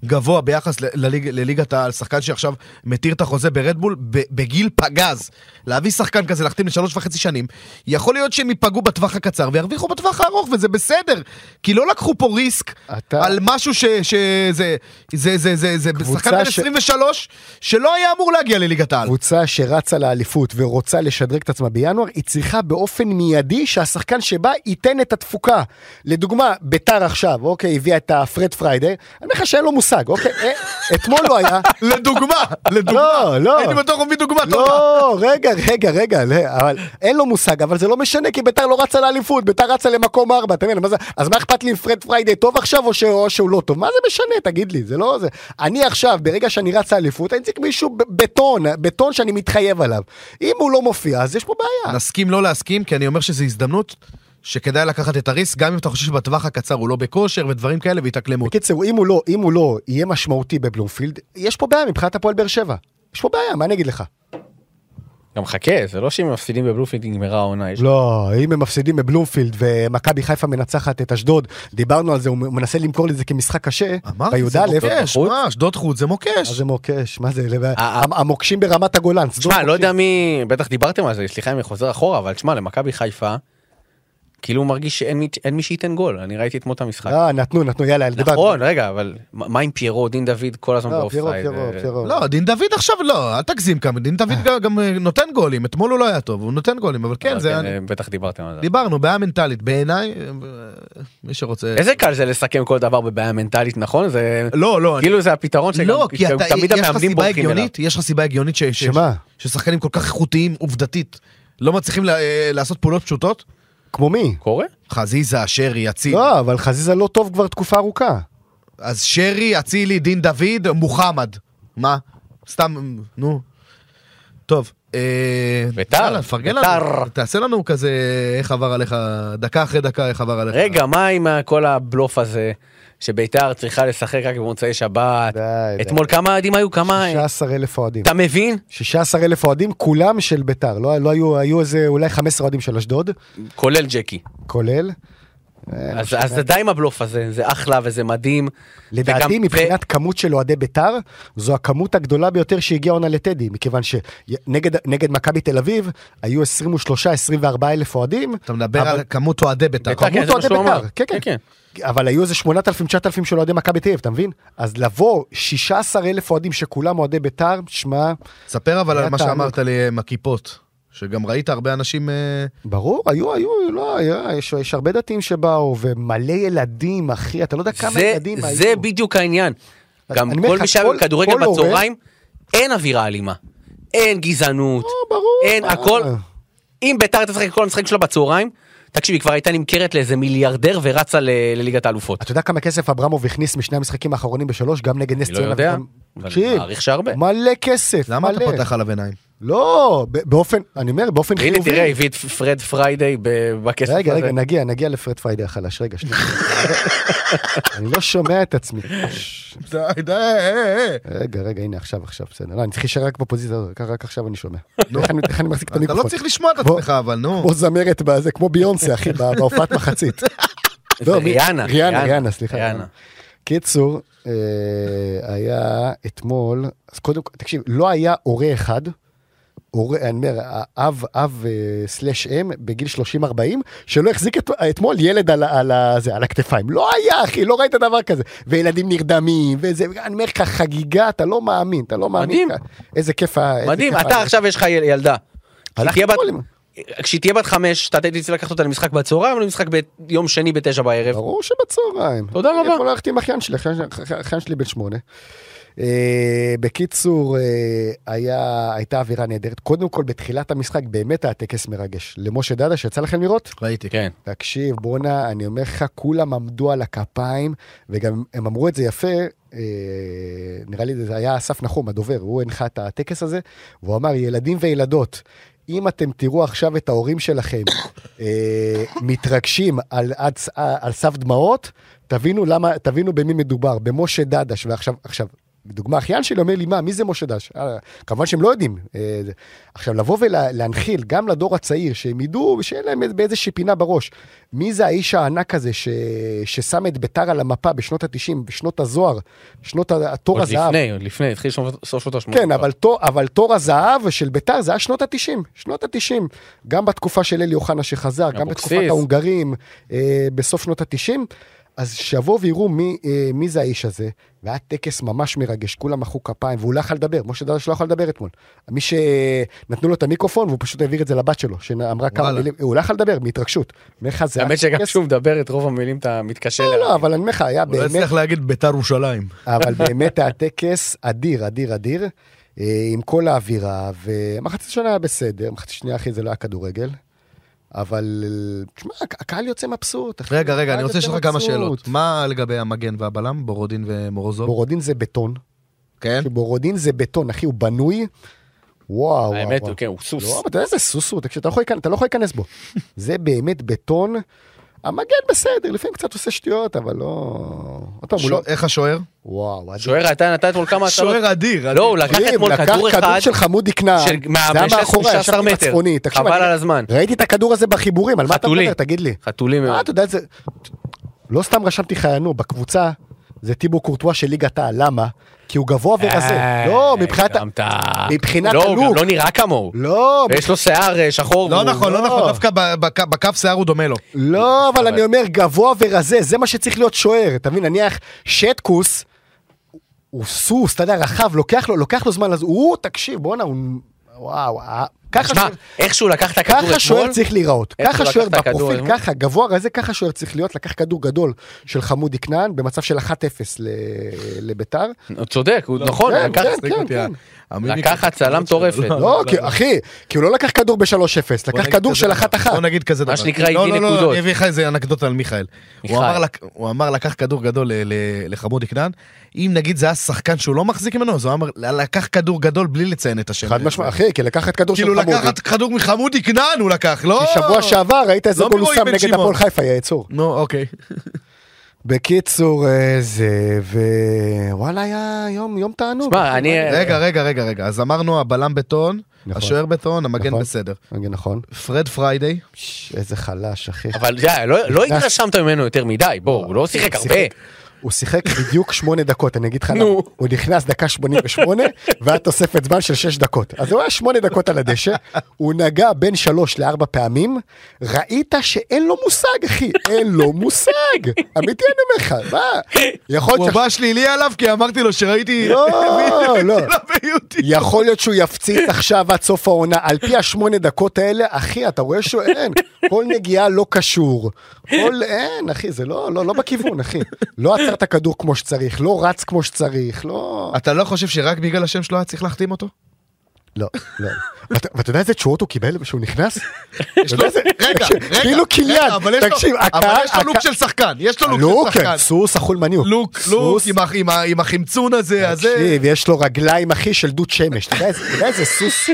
גבוה ביחס ל- לליג- לליגת העל, שחקן שעכשיו מתיר את החוזה ברדבול ב- בגיל פגז. להביא שחקן כזה, להחתים לשלוש וחצי שנים, יכול להיות שהם ייפגעו בטווח הקצר וירוויחו בטווח הארוך, וזה בסדר, כי לא לקחו פה ריסק אתה- על משהו ש- שזה, זה, זה, זה, זה, קבוצה שחקן בן ש- 23 שלא היה אמור להגיע לליגת העל. קבוצה שרצה לאליפות ורוצה לשדרג את עצמה בינואר, היא צריכה באופן מיידי שהשחקן שבא ייתן את התפוקה. לדוגמה, ביתר עכשיו, אוקיי, הביאה את הפרד פריידר, אני אומר לך שאין לו מושג, אוקיי? אה, אתמול לא היה. לדוגמה, לדוגמה. לא, לא. הייתי בטוח הוא מביא דוגמה טובה. לא, רגע, רגע, רגע, לא, אבל אין לו מושג, אבל זה לא משנה, כי ביתר לא רצה לאליפות, ביתר רצה למקום ארבע, אתה מבין? מה זה- אז מה אכפת לי אם פרד פריידי טוב עכשיו או ש- או שהוא לא טוב? מה זה משנה, תגיד לי, זה לא זה. אני עכשיו, ברגע שאני רץ לאליפות, אני צריך מישהו ב- בטון, בטון שאני מתחייב עליו. אם הוא לא מופיע, אז יש פה בעיה. נסכים לא להסכים, כי אני אומר שזו הזדמנות שכדאי לקחת את הריסק, גם אם אתה חושב שבטווח הקצר הוא לא בכושר ודברים כאלה כן, והתאקלמות. בקיצור, אם הוא לא, אם הוא לא יהיה משמעותי בבלומפילד, יש פה בעיה מבחינת הפועל באר שבע. יש פה בעיה, מה אני אגיד לך? גם חכה, זה לא שאם הם מפסידים בבלופילד נגמרה העונה. יש- לא, אם הם מפסידים בבלומפילד ומכבי חיפה מנצחת את אשדוד, דיברנו על זה, הוא מנסה למכור לי את זה כמשחק קשה, אמרתי, זה בי"א, אה, מוקש, בחוץ? מה, אשדוד חוץ זה מה מוקש. זה מוקש, מה זה, לב- אה, המ- המוקשים ברמת הגולן, שדות שמע, לא מוקשים. יודע מי, בטח דיברתם על זה, סליחה אם אני חוזר אחורה, אבל שמע, למכבי חיפה, כאילו הוא מרגיש שאין מי- אין מי שייתן גול, אני ראיתי אתמול את המשחק. אה, נתנו, נתנו, יאללה, דיברנו. נכון, רגע, אבל מה מה עם פיירו, דין דוד, כל הזמן לא, פירו, באופסייד. פירו, אה, פירו. לא, דין דוד עכשיו לא, אל תגזים כמה, דין דוד גם- גם אה, נותן גולים, אתמול הוא לא היה טוב, הוא נותן גולים, אבל כן, אבל זה... אה, היה- בטח דיברתם על זה. דיברנו, בעיה מנטלית, בעיניי, אה, מי שרוצה... איזה קל זה לסכם כל דבר בבעיה מנטלית, נכון? זה... לא, לא, אני- כאילו זה הפתרון שגם לא, כי אתה, תמיד יש לך המאמנים סיבה בורחים אליו. הגיונית, יש לך סיבה הגיונית ש- ש- שמה? ששחקנים כל כך איכותיים עובדתית לא מצליחים ל- אה, לעשות פעולות פשוטות? כמו מי? קורה? חזיזה, שרי, אצילי. לא, אבל חזיזה לא טוב כבר תקופה ארוכה. אז שרי, אצילי, דין דוד, מוחמד. מה? סתם, נו. טוב, אה, ביתר, יאללה, פרגן לנו, ביתר. תעשה לנו כזה איך עבר עליך, דקה אחרי דקה איך עבר עליך. רגע, מה עם ה- כל הבלוף הזה שביתר צריכה לשחק רק במוצאי שבת? די, די. אתמול כמה אוהדים היו? כמה... 16 אלף אוהדים. אתה מבין? 16 אלף אוהדים, כולם של ביתר. לא, לא היו, היו איזה אולי 15 אוהדים של אשדוד, כולל ג'קי. אה, כולל. לא אז אז זה די עם הבלוף הזה, זה אחלה וזה מדהים. לדעתי וגם- מבחינת כמות של אוהדי ביתר, זו הכמות הגדולה ביותר שהגיעה עונה לטדי, מכיוון שנגד מכבי תל אביב היו 23-24 אלף אוהדים. אתה מדבר אבל- על כמות אוהדי בית"ר. בית"ר, כן, כמות זה מה אוהדי שהוא בית"ר, אמר. כן כן, אבל היו איזה 8,000-9,000 של אוהדי מכבי תל אביב, אתה מבין? אז לבוא 16 אלף אוהדים שכולם אוהדי ביתר, שמע, ספר אבל היה על מה תענוג. שאמרת לי עם הכיפות, שגם ראית הרבה אנשים... אה, ברור, היו, היו, לא, היה, יש, יש הרבה דתיים שבאו, ומלא ילדים, אחי, אתה לא יודע כמה זה, ילדים היו. זה בדיוק העניין. אז אני גם אומר כל לך, מי שהיה כל- בכדורגל כל הורה- בצהריים, אין אווירה אלימה. אין גזענות. לא, ברור. אין, אה, הכל- אם ביתר תשחק את כל המשחק שלה בצהריים, תקשיב, היא כבר הייתה נמכרת לאיזה מיליארדר ורצה ל- לליגת האלופות. אתה יודע כמה כסף אברמוב הכניס משני המשחקים האחרונים בשלוש, גם נגד נס אני לא ציונה? יודע, וגם- אבל תקשיב, אני מעריך שהרבה. מלא כסף, למה אתה מלא. פותח עליו עיניים? לא, ב- באופן, אני אומר, באופן הנה, חיובי. תראה, הביא את פרד פריידיי ב- בכסף הזה. רגע, רגע, נגיע, נגיע לפרד פריידי החלש, רגע, שנייה. אני לא שומע את עצמי. די, די, אה, אה. רגע, רגע, הנה, עכשיו, עכשיו, בסדר. לא, אני צריך להישאר רק בפוזיציה הזאת, רק- רק עכשיו אני שומע. איך אני- איך אני מחזיק את לא. אתה המיקרופון? לא צריך לשמוע את בוא. עצמך, אבל נו. כמו זמרת בזה, כמו ביונסה, אחי, בה- בהופעת מחצית. זה לא, מי- ריאנה. ריאנה, ריאנה, סליחה. ריאנה. קיצור, אה, היה אתמול, אז קודם כל, תקשיב, לא היה הורה אחד, הורה, אני אומר, אב, אב אה, סלאש אם, בגיל 30-40, שלא החזיק את, אתמול ילד על, ה- על, ה- זה, על הכתפיים. לא היה, אחי, לא ראית דבר כזה. וילדים נרדמים, וזה, אני אומר לך, חגיגה, אתה לא מאמין, אתה לא מאמין. מדהים. איזה כיף ה... איזה מדהים, כיף אתה ה- עכשיו יש לך יל- ילדה. הלכתי כשתהיה בת- אתמול עם- כשהיא תהיה בת חמש, אתה תצא לקחת אותה למשחק בצהריים או למשחק ביום שני בתשע בערב. ברור שבצהריים. תודה אני רבה. יכול ללכת עם אחיין שלי, אחיין- אחיין שלי בן שמונה. אה, בקיצור, אה, היה, הייתה אווירה נהדרת. קודם כל, בתחילת המשחק באמת היה טקס מרגש. למשה דדה, שיצא לכם לראות? ראיתי. כן. תקשיב, בואנה, אני אומר לך, כולם עמדו על הכפיים, וגם הם אמרו את זה יפה, אה, נראה לי זה היה אסף נחום, הדובר, הוא הנחה את הטקס הזה, והוא אמר, ילדים וילדות, אם אתם תראו עכשיו את ההורים שלכם אה, מתרגשים על, עד, ס- על סף דמעות, תבינו למה, תבינו במי מדובר, במשה דדש, ועכשיו, עכשיו, דוגמה, אחיין שלי אומר לי, מה, מי זה משה דש? אה, כמובן שהם לא יודעים. אה, זה- עכשיו, לבוא ולהנחיל גם לדור הצעיר, שהם ידעו, שאין להם איזה- באיזושהי פינה בראש, מי זה האיש הענק הזה ש... ששם את ביתר על המפה בשנות ה-90, בשנות הזוהר, שנות ה- התור עוד הזהב. לפני, עוד לפני, התחיל שנות- סוף שנות ה-80. כן, אבל, תור, אבל תור הזהב של ביתר זה היה שנות ה-90, שנות ה-90. גם בתקופה של אלי אוחנה שחזר, גם אבוקסיס. בתקופת ההונגרים, אה, בסוף שנות ה-90. אז שיבואו ויראו מי, אה, מי זה האיש הזה, והיה טקס ממש מרגש, כולם מחאו כפיים, והוא לא יכול לדבר, משה דרש לא יכול לדבר אתמול. מי שנתנו לו את המיקרופון, והוא פשוט העביר את זה לבת שלו, שאמרה כמה וואלה. מילים, הוא לא יכול לדבר, מהתרגשות. אני אומר לך, זה היה האמת שגם טקס- כשהוא מדבר את רוב המילים אתה מתקשה אה, לא, לא, לה. אבל אני אומר לך, היה הוא לא באמת הצליח להגיד ביתר ירושלים. אבל באמת היה טקס אדיר, אדיר, אדיר, אה, עם כל האווירה, ומחצית ראשונה היה בסדר, מחצית שנייה אחי זה לא היה כדורגל, אבל אה, תשמע, הק- הקהל יוצא מבסוט. אחי. רגע, רגע, הקהל אני רוצה יוצא לשאול לך כמה מבסוט. שאלות. מה לגבי המגן והבלם, בורודין ומורוזוב? בורודין זה בטון, כן? בורודין זה בטון, אחי, הוא בנוי. וואו, וואו, האמת, וואו. הוא- כן, הוא סוס. לא, אבל אתה יודע איזה סוס הוא, תקשיב, אתה לא יכול להיכנס- אתה לא יכול להיכנס בו. זה באמת בטון. המגן בסדר, לפעמים קצת עושה שטויות, אבל לא... עוד פעם, הוא לא... שו- איך השוער? וואו, אדיר. שוער הייתה נתן אתמול כמה הצלות. שוער אדיר. לא, הוא לקח תקשיב, אתמול כדור לקח אחד. כדור של חמודי כנען, של- מה- זה היה מה- מאחורי, 16 ישבתי מטר. בצפוני, תקשיב, חבל אני- על הזמן. ראיתי את הכדור הזה בחיבורים, על מה אתה חתולים. מדבר? תגיד לי. חתולים אה, מאוד. אתה יודע איזה... לא סתם רשמתי לך, נו, בקבוצה זה טיבו קורטואה של ליגת העל, למה? כי הוא גבוה ורזה. אה, לא, מבחינת... ה- גם אתה- מבחינת לא, הוא גם הלוק. לא נראה כמוהו. לא, יש לו שיער אה, שחור. לא והוא- נכון, לא לא. נכון, דווקא ב- בק- בכף שיער הוא דומה לו. לא, אבל אני אומר, גבוה ורזה, זה מה שצריך להיות שוער. אתה מבין, נניח שטקוס, הוא סוס, אתה יודע, רחב, לוקח לו, לוקח לו זמן, אז הוא, תקשיב, בואנה, הוא... וואו, אה, ככה שמע, שוער- איך שהוא לקח את הכדור ככה אתמול, שוער צריך להיראות, איך ככה הוא שוער לקח את הכדור בפרופיל, אתמול? ככה גבוה רזה, ככה שוער צריך להיות, לקח כדור גדול של חמודי כנען במצב של 1-0 ל- לביתר. לא, הוא צודק, הוא נכון, הוא כן, לקח- כן, מצחיק כן, אותי, כן. המיניקה- לקח הצלה מטורפת. לא, לא, כי- אחי, כי הוא לא לקח כדור ב-3-0, בוא לקח נגיד כדור כזה של דבר. 1-1. בוא נגיד כזה דבר. מה שנקרא, לא, הביא לא, לא, נקודות. אני אביא לך איזה אנקדוטה על מיכאל. הוא מיכאל. אמר לק- הוא אמר לקח כדור גדול ל- ל- לחמודי כנען, אם נגיד זה היה שחקן שהוא לא מחזיק ממנו, אז הוא אמר לקח כדור גדול בלי לציין את השם. חד משמעית, אחי, כי לקחת כדור של כאילו חמודי. לקחת כדור מחמודי כנען הוא לקח, לא? כי שבוע שעבר ראית איזה לא גול הוא מרועי שם בן נגד שמעון. הפועל חיפה, יא יצור. נו, אוקיי. בקיצור, אה, זה, ווואלה, היה יום יום תענוג. שמע, אני... רגע, רגע, רגע, רגע. אז אמרנו הבלם בטון, נכון. השוער בטון, המגן נכון. בסדר. רגע, נכון. פרד פריידי, ש- איזה חלש, אחי. אבל זה, לא לא התרשמת ממנו יותר מדי, בוא, הוא לא שיחק הרבה. הוא שיחק בדיוק שמונה דקות, אני אגיד לך למה. נו. הוא נכנס דקה 88, והיה תוספת זמן של שש דקות. אז הוא היה שמונה דקות על הדשא, הוא נגע בין שלוש לארבע פעמים, ראית שאין לו מושג, אחי, אין לו מושג. אמיתי אני אומר לך, מה? יכול הוא להיות ש... בא שלילי עליו כי אמרתי לו שראיתי... לא, לא. ביוטיוב. יכול להיות שהוא יפציץ עכשיו עד סוף העונה, על פי השמונה דקות האלה, אחי, אתה רואה שהוא אין, כל נגיעה לא קשור. כל אין, אחי, זה לא, לא, לא בכיוון, אחי. לא עצר את הכדור כמו שצריך, לא רץ כמו שצריך, לא... אתה לא חושב שרק בגלל השם שלו היה צריך להחתים אותו? לא, לא. ואתה- ואתה יודע איזה תשואות הוא קיבל כשהוא נכנס? יש לו- רגע, רגע, כאילו קיליאן, רגע, אבל יש לו- תקשיב, אבל הקהל... יש לו לוק של שחקן, יש לו לוק לוק, של כן, שחקן. סוס החולמני הוא. לוק, לוק, סוס. עם ה- עם ה- עם החמצון הזה, הזה. תקשיב, יש לו רגליים אחי של דוד שמש, אתה יודע איזה- אתה יודע איזה סוס,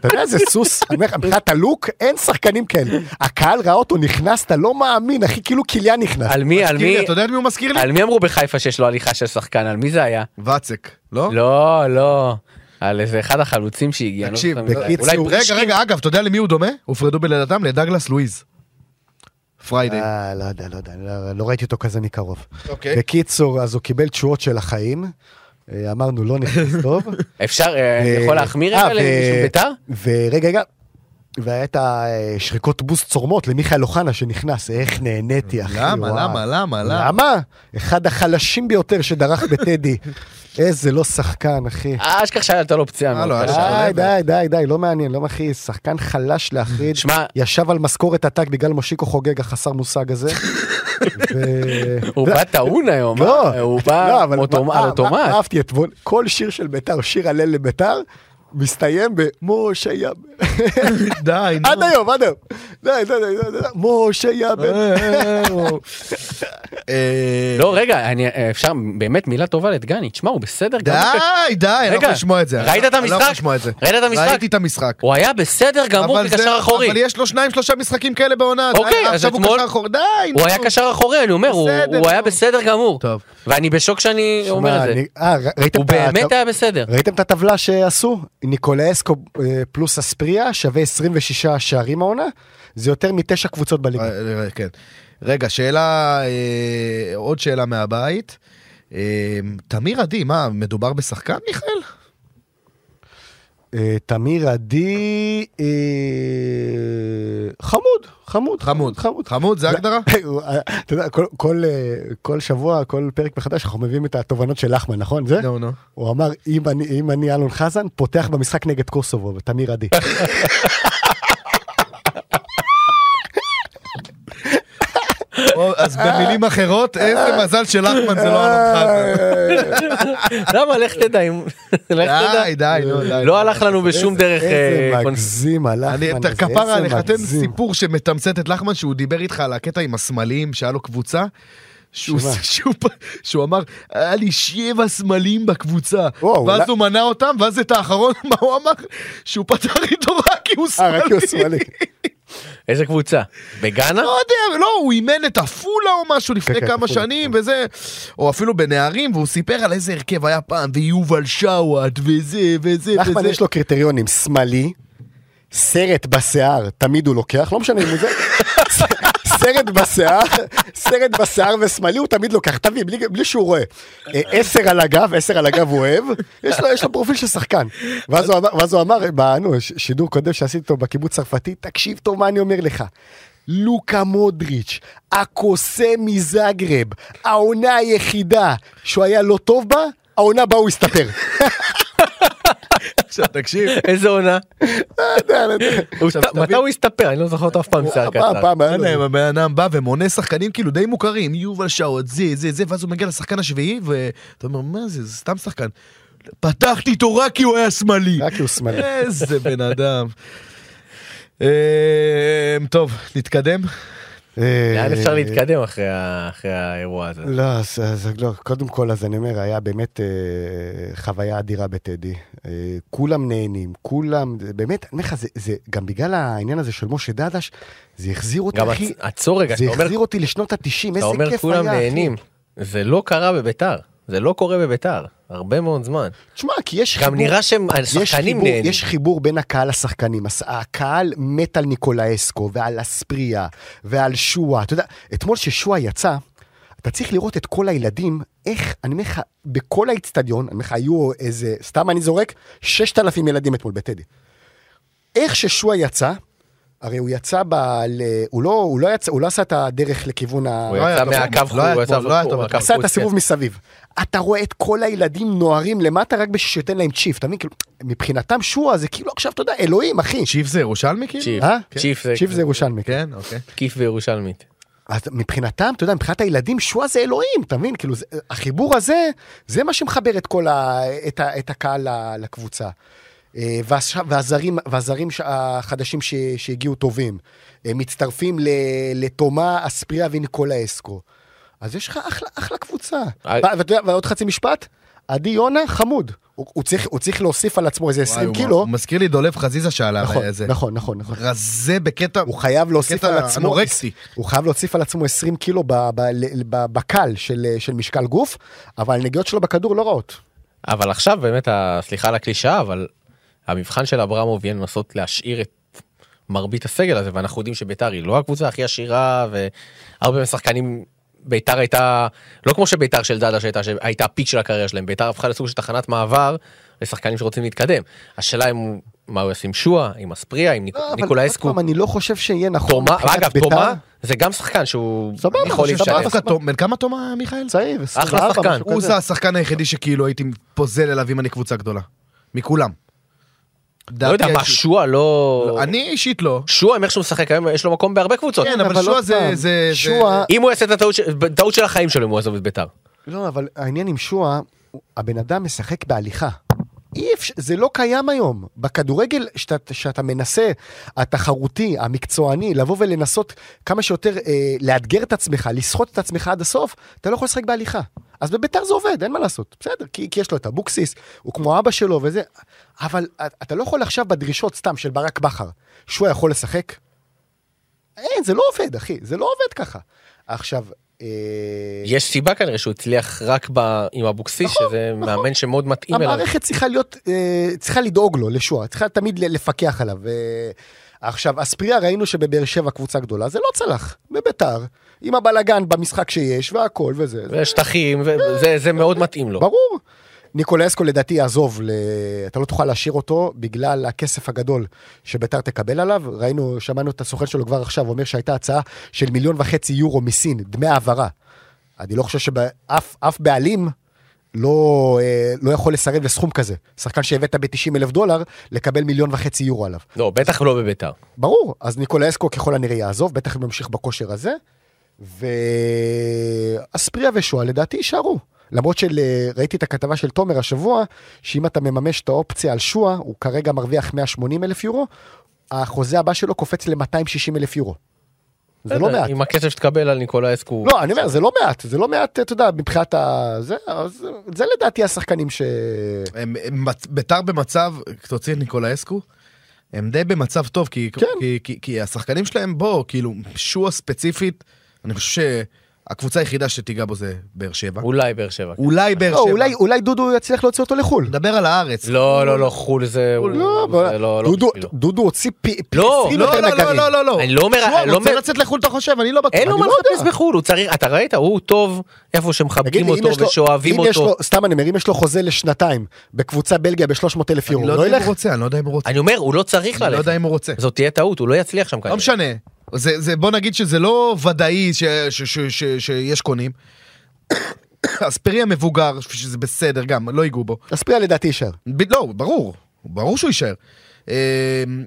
אתה יודע איזה סוס, אני אומר לך, מבחינת הלוק אין שחקנים כאלה, הקהל ראה אותו נכנס, אתה לא מאמין, אחי, כאילו קיליאן נכנס, על מי, על מזכיר לי, מי, אתה יודע את מי הוא מזכיר לי? על מי אמרו בחיפה שיש לו הליכה של שחקן, על מי זה היה? ואצק, לא? לא, לא. על איזה אחד החלוצים שהגיע. אני לא תקשיב, זוכר מי זה היה. בקיצור, אולי הוא רגע, פרישקין? רגע, אגב, אתה יודע למי הוא דומה? הופרדו בלידתם לדגלס לואיז. פריידי. אה, לא יודע, לא יודע, לא- לא ראיתי אותו כזה מקרוב. אוקיי. בקיצור, אז הוא קיבל תשואות של החיים, אה, אמרנו לא נכנס טוב. אפשר, אה, אני אה, יכול להחמיר אה, רגע ו- למישהו בית"ר? ורגע, רגע. והיה את השריקות בוסט צורמות למיכאל אוחנה שנכנס, איך נהניתי אחי. למה, וואי. למה, למה, למה? למה? אחד החלשים ביותר שדרך בטדי. איזה לא שחקן, אחי. אה, אשכח שהייתה לו פציעה. אה, לא, מאוד היה לו קשה. די, שלב. די, די, די, לא מעניין, לא מכי, שחקן חלש להחריד. שמע, ישב על משכורת עתק בגלל מושיקו חוגג החסר מושג הזה. ו- הוא בא טעון היום, לא, אה? הוא לא, בא אבל אוטומ- מה- על מה- מה- אוטומט. אהבתי אתמול, כל שיר של ביתר, שיר הלל לביתר, מסתיים במשה ים. די, נו. עד היום, עד היום. לא, די, די, די, די, די, לא. משה ים. אה, לא, רגע, אני- אה, אפשר באמת מילה טובה לדגני. תשמע, הוא בסדר גמור. די, די, אני לא יכול לשמוע את זה. ראית את אני לא יכול המשחק? לשמוע את זה. ראית את המשחק? ראיתי את המשחק. הוא היה בסדר גמור אבל זה- נכון, כקשר אחורי. אבל יש לו שניים שלושה משחקים כאלה בעונה. אוקיי, די, אז עכשיו הוא אתמול- קשר אחורי. די, הוא נו. היה קשר אחורי, אני אומר, הוא- בסדר, הוא היה נו. בסדר גמור. טוב. ואני בשוק שאני אומר שמע, את זה. אני- אה, ר- ראיתם הוא את ה- באמת היה בסדר. ראיתם את הטבלה שעשו? ניקולאסקו אה, פלוס אספריה שווה 26 שערים העונה, זה יותר מתשע קבוצות בליגה. אה, אה, כן. רגע, שאלה, אה, עוד שאלה מהבית. אה, תמיר עדי, מה, מדובר בשחקן, מיכאל? אה, תמיר עדי, אה, חמוד, חמוד, חמוד. חמוד. חמוד, לא. זה הגדרה? הוא, אה, אתה יודע, כל- כל, אה, כל שבוע, כל פרק מחדש, אנחנו מביאים את התובנות של לחמן, נכון? זה? לא, נו, נו. הוא אמר, אם אני, אם אני אלון חזן, פותח במשחק נגד קוסובו, ותמיר עדי. או, אז במילים אחרות, איזה מזל שלחמן זה לא אלון אה, חזן. למה? לך תדע אם... לך תדע. די, די, נו, די. לא הלך לנו בשום דרך... איזה אה, קונס- מגזים, הלחמן אני, הזה, אתה כפרה איזה עליך, תן מגזים. סיפור שמתמצת את לחמן שהוא דיבר איתך על הקטע עם הסמלים שהיה לו קבוצה. שהוא, שמה? שהוא, פ- שהוא אמר, היה לי שבע סמלים בקבוצה, וואו, ואז לא- הוא מנה אותם, ואז את האחרון, מה הוא אמר? שהוא פתר איתו רק כי הוא אה, רק כי הוא שמאלי. שמאלי. איזה קבוצה? בגאנה? לא יודע, לא, הוא אימן את עפולה או משהו לפני כן, כמה עפולה, שנים וזה, או אפילו בנערים, והוא סיפר על איזה הרכב היה פעם, ויובל שוואט, וזה, וזה, לחמן וזה. יש לו קריטריונים, שמאלי, סרט בשיער, תמיד הוא לוקח, לא משנה אם הוא זה, ס- סרט בשיער, סרט בשיער ושמאלי הוא תמיד לוקח, תביא, בלי, בלי שהוא רואה. אה, עשר על הגב, עשר על הגב הוא אוהב, יש לו, יש לו פרופיל של שחקן. ואז הוא אמר, ואז הוא אמר ב- נו, ש- שידור קודם שעשיתי אותו בקיבוץ צרפתי, תקשיב טוב מה אני אומר לך. לוקה מודריץ', הקוסם מזגרב, העונה היחידה שהוא היה לא טוב בה, העונה בה הוא הסתפר. עכשיו תקשיב, איזה עונה. לא הוא עכשיו, הסת- תבין- מתי הוא הסתפר? אני לא זוכר אותו אף פעם שיער פעם, קצר. פעם היה אין להם, לו- הבן אדם בא ומונה שחקנים כאילו די מוכרים, יובל שעות, זה, זה, זה, ואז הוא מגיע לשחקן השביעי, ואתה אומר, מה זה, זה סתם שחקן. פתחתי איתו רק כי הוא היה שמאלי. רק כי הוא שמאלי. אה, איזה בן אדם. אמ, טוב, נתקדם. אה, לאן אפשר להתקדם אחרי ה- אחרי האירוע הזה? לא, אז, אז לא, קודם כל, אז אני אומר, היה באמת אה, חוויה אדירה בטדי. אה, כולם נהנים, כולם, זה באמת, אני אומר לך, זה, זה גם בגלל העניין הזה של משה דדש, זה החזיר אותי, גם אחי, הצ- עצור רגע, זה אתה אומר- החזיר אותי לשנות התשעים, אתה איזה אומר כיף כולם היה, אחי. נהנים. זה לא קרה בביתר. זה לא קורה בביתר. הרבה מאוד זמן. תשמע, כי יש חיבור... גם נראה שהם, יש השחקנים חיבור, נהנים. יש חיבור בין הקהל לשחקנים, הס- הקהל מת על ניקולאסקו ועל אספריה ועל שואה, אתה יודע, אתמול ששואה יצא, אתה צריך לראות את כל הילדים, איך, אני אומר לך, בכל האיצטדיון, אני אומר לך, היו איזה, סתם אני זורק, 6,000 ילדים אתמול בטדי. איך ששואה יצא, הרי הוא יצא ב... ל- הוא לא, הוא לא יצא, הוא לא עשה את הדרך לכיוון ה... הוא לא היה יצא טוב, מהקו לא חוץ, היה הוא יצא טוב, לא היה מהקו טוב, חוץ, עשה את כן. הסיבוב מסביב. אתה רואה את כל הילדים נוהרים למטה רק בשביל שתיתן להם צ'יפ, אתה מבין? כאילו, מבחינתם שועה זה כאילו עכשיו, אתה יודע, אלוהים, אחי. צ'יפ זה ירושלמי כאילו? צ'יפ. אה? צ'יפ זה- כאילו- צ'יפ זה ירושלמי. כן. כן, אוקיי. כיף וירושלמית. אז מבחינתם, אתה יודע, מבחינת הילדים, שועה זה אלוהים, אתה מבין? כאילו, זה- החיבור הזה, זה מה שמחבר את כל ה... את, ה... את הקהל ל- לקבוצה. אה, והש- והזרים, והזרים ש- החדשים ש... שהגיעו טובים, אה, מצטרפים ל... לתומה, אספריה וניקולה אסקו. אז יש לך אחלה, אחלה קבוצה. אה, ו- ואתה יודע, ועוד חצי משפט, עדי יונה חמוד. הוא, הוא, צריך, הוא צריך להוסיף על עצמו איזה 20 וואי, הוא- קילו. הוא מזכיר לי דולב חזיזה שעלה נכון, על זה. נכון, נכון, נכון. רזה בקטע הוא חייב להוסיף קטע על עצמו, אנורקסי. הוא חייב להוסיף על עצמו 20 קילו ב, ב, ל- ב, בקל של, אה, של משקל גוף, אבל הנגיעות שלו בכדור לא רעות. אבל עכשיו באמת, ה- סליחה על הקלישאה, אבל המבחן של אברמוב יהיה לנסות להשאיר את מרבית הסגל הזה, ואנחנו יודעים שביתר היא לא הקבוצה הכי עשירה, והרבה מהשחקנים, ביתר הייתה, לא כמו שביתר של דאדה שהייתה, שהייתה הפיק של הקריירה שלהם, ביתר הפכה לסוג של תחנת מעבר לשחקנים שרוצים להתקדם. השאלה אם הוא, מה הוא יעשה עם שואה, עם אספריה, עם ניק- לא, אבל ניקולאי עוד אסקו, פעם, אני לא חושב שיהיה נכון. תומה, מבחינת אגב, בית"ר. תומה זה גם שחקן שהוא סבבה, יכול אבל להשתלב. סבבה. דווקא תום- בן כמה תומה מיכאל? צעיר, 24, שחקן. משהו הוא כזה. זה השחקן היחידי שכאילו הייתי פוזל אליו אם אני קבוצה גדולה. מכולם. לא יודע, דעתי מה, האישית. שועה לא... לא, אני אישית לא. שועה, עם איך שהוא משחק היום, יש לו מקום בהרבה קבוצות. כן, אבל עוד שועה זה- פעם, זה- זה- שועה, אם הוא יעשה את הטעות של- טעות של החיים שלו אם הוא יעזוב את ביתר. לא, אבל העניין עם שועה, הוא- הבן אדם משחק בהליכה. אי אפשר, זה לא קיים היום. בכדורגל, שאתה, שאתה מנסה, התחרותי, המקצועני, לבוא ולנסות כמה שיותר אה, לאתגר את עצמך, לסחוט את עצמך עד הסוף, אתה לא יכול לשחק בהליכה. אז בביתר זה עובד, אין מה לעשות, בסדר, כי, כי יש לו את אבוקסיס, הוא כמו אבא שלו וזה, אבל את- אתה לא יכול עכשיו בדרישות סתם של ברק בכר, שהוא יכול לשחק? אין, זה לא עובד, אחי, זה לא עובד ככה. עכשיו, אה... יש סיבה כנראה שהוא הצליח רק ב- עם אבוקסיס, שזה מאמן שמאוד מתאים אליו. נכון, המערכת צריכה להיות, אה, צריכה לדאוג לו, לשועה, צריכה תמיד ל- לפקח עליו. אה, עכשיו, אספריה ראינו שבבאר שבע קבוצה גדולה, זה לא צלח, בביתר, עם הבלגן במשחק שיש והכל וזה, זה ושטחים, וזה זה מאוד מתאים לו. ברור. ניקולסקו לדעתי יעזוב, ל... אתה לא תוכל להשאיר אותו בגלל הכסף הגדול שביתר תקבל עליו. ראינו, שמענו את הסוכן שלו כבר עכשיו אומר שהייתה הצעה של מיליון וחצי יורו מסין, דמי העברה. אני לא חושב שאף אף בעלים לא, אה, לא יכול לסרב לסכום כזה. שחקן שהבאת ב-90 אלף דולר, לקבל מיליון וחצי יורו עליו. לא, בטח לא בביתר. ברור, אז ניקולסקו ככל הנראה יעזוב, בטח אם ימשיך בכושר הזה, ואספריה ושואה לדעתי יישארו. למרות שראיתי את הכתבה של תומר השבוע, שאם אתה מממש את האופציה על שואה, הוא כרגע מרוויח 180 אלף יורו, החוזה הבא שלו קופץ ל-260 אלף יורו. זה לא בסדר, מעט. עם הכסף שתקבל על ניקולאסקו. הוא- לא, אני אומר, זה לא מעט, זה לא מעט, אתה יודע, מבחינת ה... זה, אז זה לדעתי השחקנים ש... הם- הם- ביתר במצב, תוציא את ניקולאסקו, הם די במצב טוב, כי, כן. כי, כי, כי השחקנים שלהם בו, כאילו, שועה ספציפית, אני חושב שהקבוצה היחידה שתיגע בו זה באר שבע. אולי באר שבע. כן. אולי באר לא, שבע. אולי, אולי דודו יצליח להוציא אותו לחו"ל. נדבר על הארץ. לא, לא, לא, חו"ל זה... הוא- לא, זה לא, לא דודו- בשבילו. דודו הוציא פי... פי לא, 20 לא, יותר לא, לא, נגרים. לא, לא, לא. אני לא אומר- שועה אני לא רוצה אומר- לצאת לחו"ל, אתה חושב? אני לא בטוח. אין לו אני מה לא לחפש יודע. בחו"ל, הוא צריך... אתה ראית? הוא טוב איפה שמחבקים תגיד לי, אם אותו יש לו- ושאוהבים אם יש אותו. לו- סתם אני אומר, אם יש לו חוזה לשנתיים בקבוצה בלגיה ב-300 אלף יורו, אני לא לא יודע אם ילך? הוא רוצה, אני לא יודע אם הוא רוצה. אני אומר, הוא לא צריך אני לא יודע ללכת. אם הוא רוצה. זאת תהיה טעות, הוא לא יצליח שם כנראה. לא משנה. זה, זה, בוא נגיד שזה לא ודאי ש, ש, ש, ש, שיש קונים. אספריה מבוגר, שזה בסדר גם, לא ייגעו בו. אספריה לדעתי יישאר. ב, לא, ברור. ברור שהוא יישאר. אה,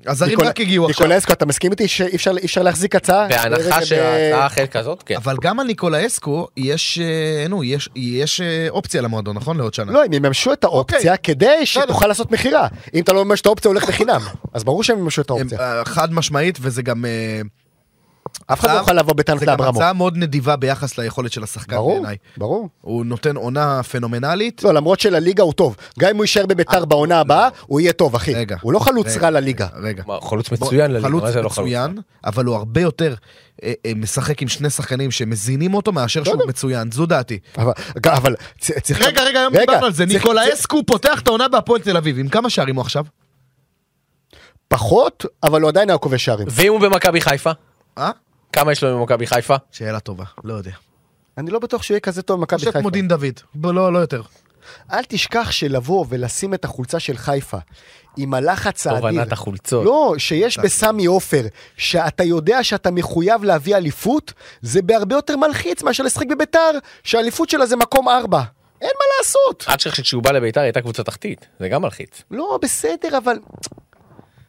הזרים ניקול- רק הגיעו עכשיו. ניקולסקו, אתה מסכים איתי שאי אפשר- אי אפשר להחזיק הצעה? אה, בהנחה ברגע שההצעה אחרת כזאת, כן. אבל גם על ניקולאסקו יש, אה, נו, יש, יש אה, אופציה למועדון, נכון? לעוד ב- שנה. לא, הם יממשו את האופציה אוקיי. כדי שתוכל לעשות מכירה. אם אתה לא מממש את האופציה, הוא הולך לחינם. אז ברור שהם יממשו את הם, האופציה. אה, חד משמעית, וזה גם... אה, אף אחד לא הצעה- יוכל לבוא בטענות זה גם לאברמוב. הצעה מאוד נדיבה ביחס ליכולת של השחקן ברור, בעיניי. ברור. הוא נותן עונה פנומנלית. לא, למרות שלליגה הוא טוב. גם אם הוא יישאר בביתר בעונה הבאה, הוא יהיה טוב, אחי. אה, רגע. הוא לא חלוץ רגע, רע לליגה. רגע. מה, חלוץ מצוין לליגה, חלוץ מה זה לא חלוץ? מצוין, אבל הוא הרבה יותר אה, אה, משחק עם שני שחקנים שמזינים אותו מאשר שהוא מצוין, זו דעתי. אבל- אבל צ- צריך... רגע, רגע, היום דיברנו על זה, צריך- ניקולאסקו פותח את העונה בהפועל תל אביב, עם כמה שערים הוא עכשיו? פחות, אבל הוא עדיין היה כובש שערים. ואם הוא במכבי חיפה? אה? כמה יש לו במכבי חיפה? שאלה טובה, לא יודע. אני לא בטוח שהוא יהיה כזה טוב במכבי חושב חיפה. כמו דין דוד, ב- לא, לא יותר. אל תשכח שלבוא ולשים את החולצה של חיפה עם הלחץ האדיר. תובנת החולצות. לא, שיש בסמי עופר, שאתה יודע שאתה מחויב להביא אליפות, זה בהרבה יותר מלחיץ מאשר לשחק בביתר, שהאליפות שלה זה מקום ארבע. אין מה לעשות. עד שכח שכשהוא בא לביתר היא הייתה קבוצה תחתית, זה גם מלחיץ. לא, בסדר, אבל...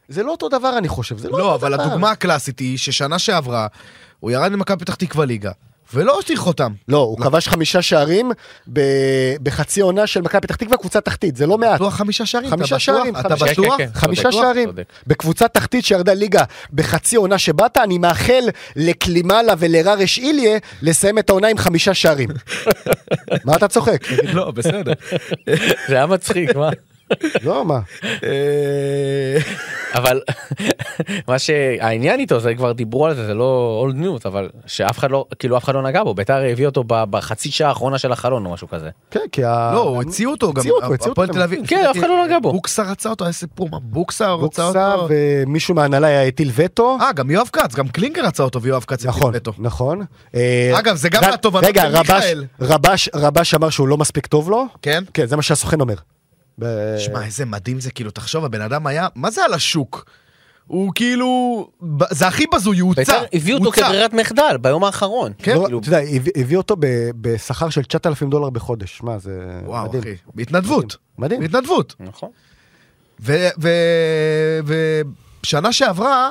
זה לא אותו דבר, אני חושב. זה לא, לא, אותו אבל דבר. הדוגמה הקלאסית היא ששנה שעברה הוא ירד למכבי פתח תקווה ליגה, ולא הושיך אותם. לא, הוא כבש חמישה שערים ב... בחצי עונה של מכבי פתח תקווה, קבוצה תחתית, זה לא מעט. בטוח אה, חמישה שערים, אתה חמישה בטוח? שערים, אתה חמישה- בטוח? כן, כן, כן. חמישה צודק, שערים. צודק. בקבוצה תחתית שירדה ליגה בחצי עונה שבאת, אני מאחל לקלימלה ולררש איליה לסיים את העונה עם חמישה שערים. מה אתה צוחק? כן, לא, בסדר. זה היה מצחיק, מה? לא, מה? אה, אבל מה שהעניין איתו זה כבר דיברו על זה זה לא old news אבל שאף אחד לא כאילו אף אחד לא נגע בו ביתר הביא אותו ב- בחצי שעה האחרונה של החלון או משהו כזה. כן, כי ה... לא, הוא הציעו אותו גם. אה, הציעו אותו, הציעו הפועל אותו. תל אביב. כן, אף אחד לא נגע בו. בוקסה רצה אותו, היה סיפור מה, בוקסה רצה בוקסה אותו. ומישהו מההנהלה היה הטיל וטו. אה, גם יואב כץ, גם קלינגר רצה אותו ויואב כץ הפיל נכון, וטו. נכון. אה, אגב, זה גם ר- מהתובנות רגע, של רבש- מיכאל. רבש- רבש אמר שהוא לא מספיק טוב לו? כן? כן, זה מה שהסוכן אומר. ב- שמע, איזה מדהים זה, כאילו, תחשוב, הבן אדם היה, מה זה על השוק? הוא כאילו, ב- זה הכי בזוי, הוא הוצא. ביתר הביאו אותו הוצא. כברירת מחדל ביום האחרון. כן, לא, כאילו, אתה יודע, הביא- הביא אותו ב- בשכר של 9,000 דולר בחודש, מה זה וואו, מדהים. אחי, בהתנדבות. מדהים. בהתנדבות. נכון. ושנה שעברה,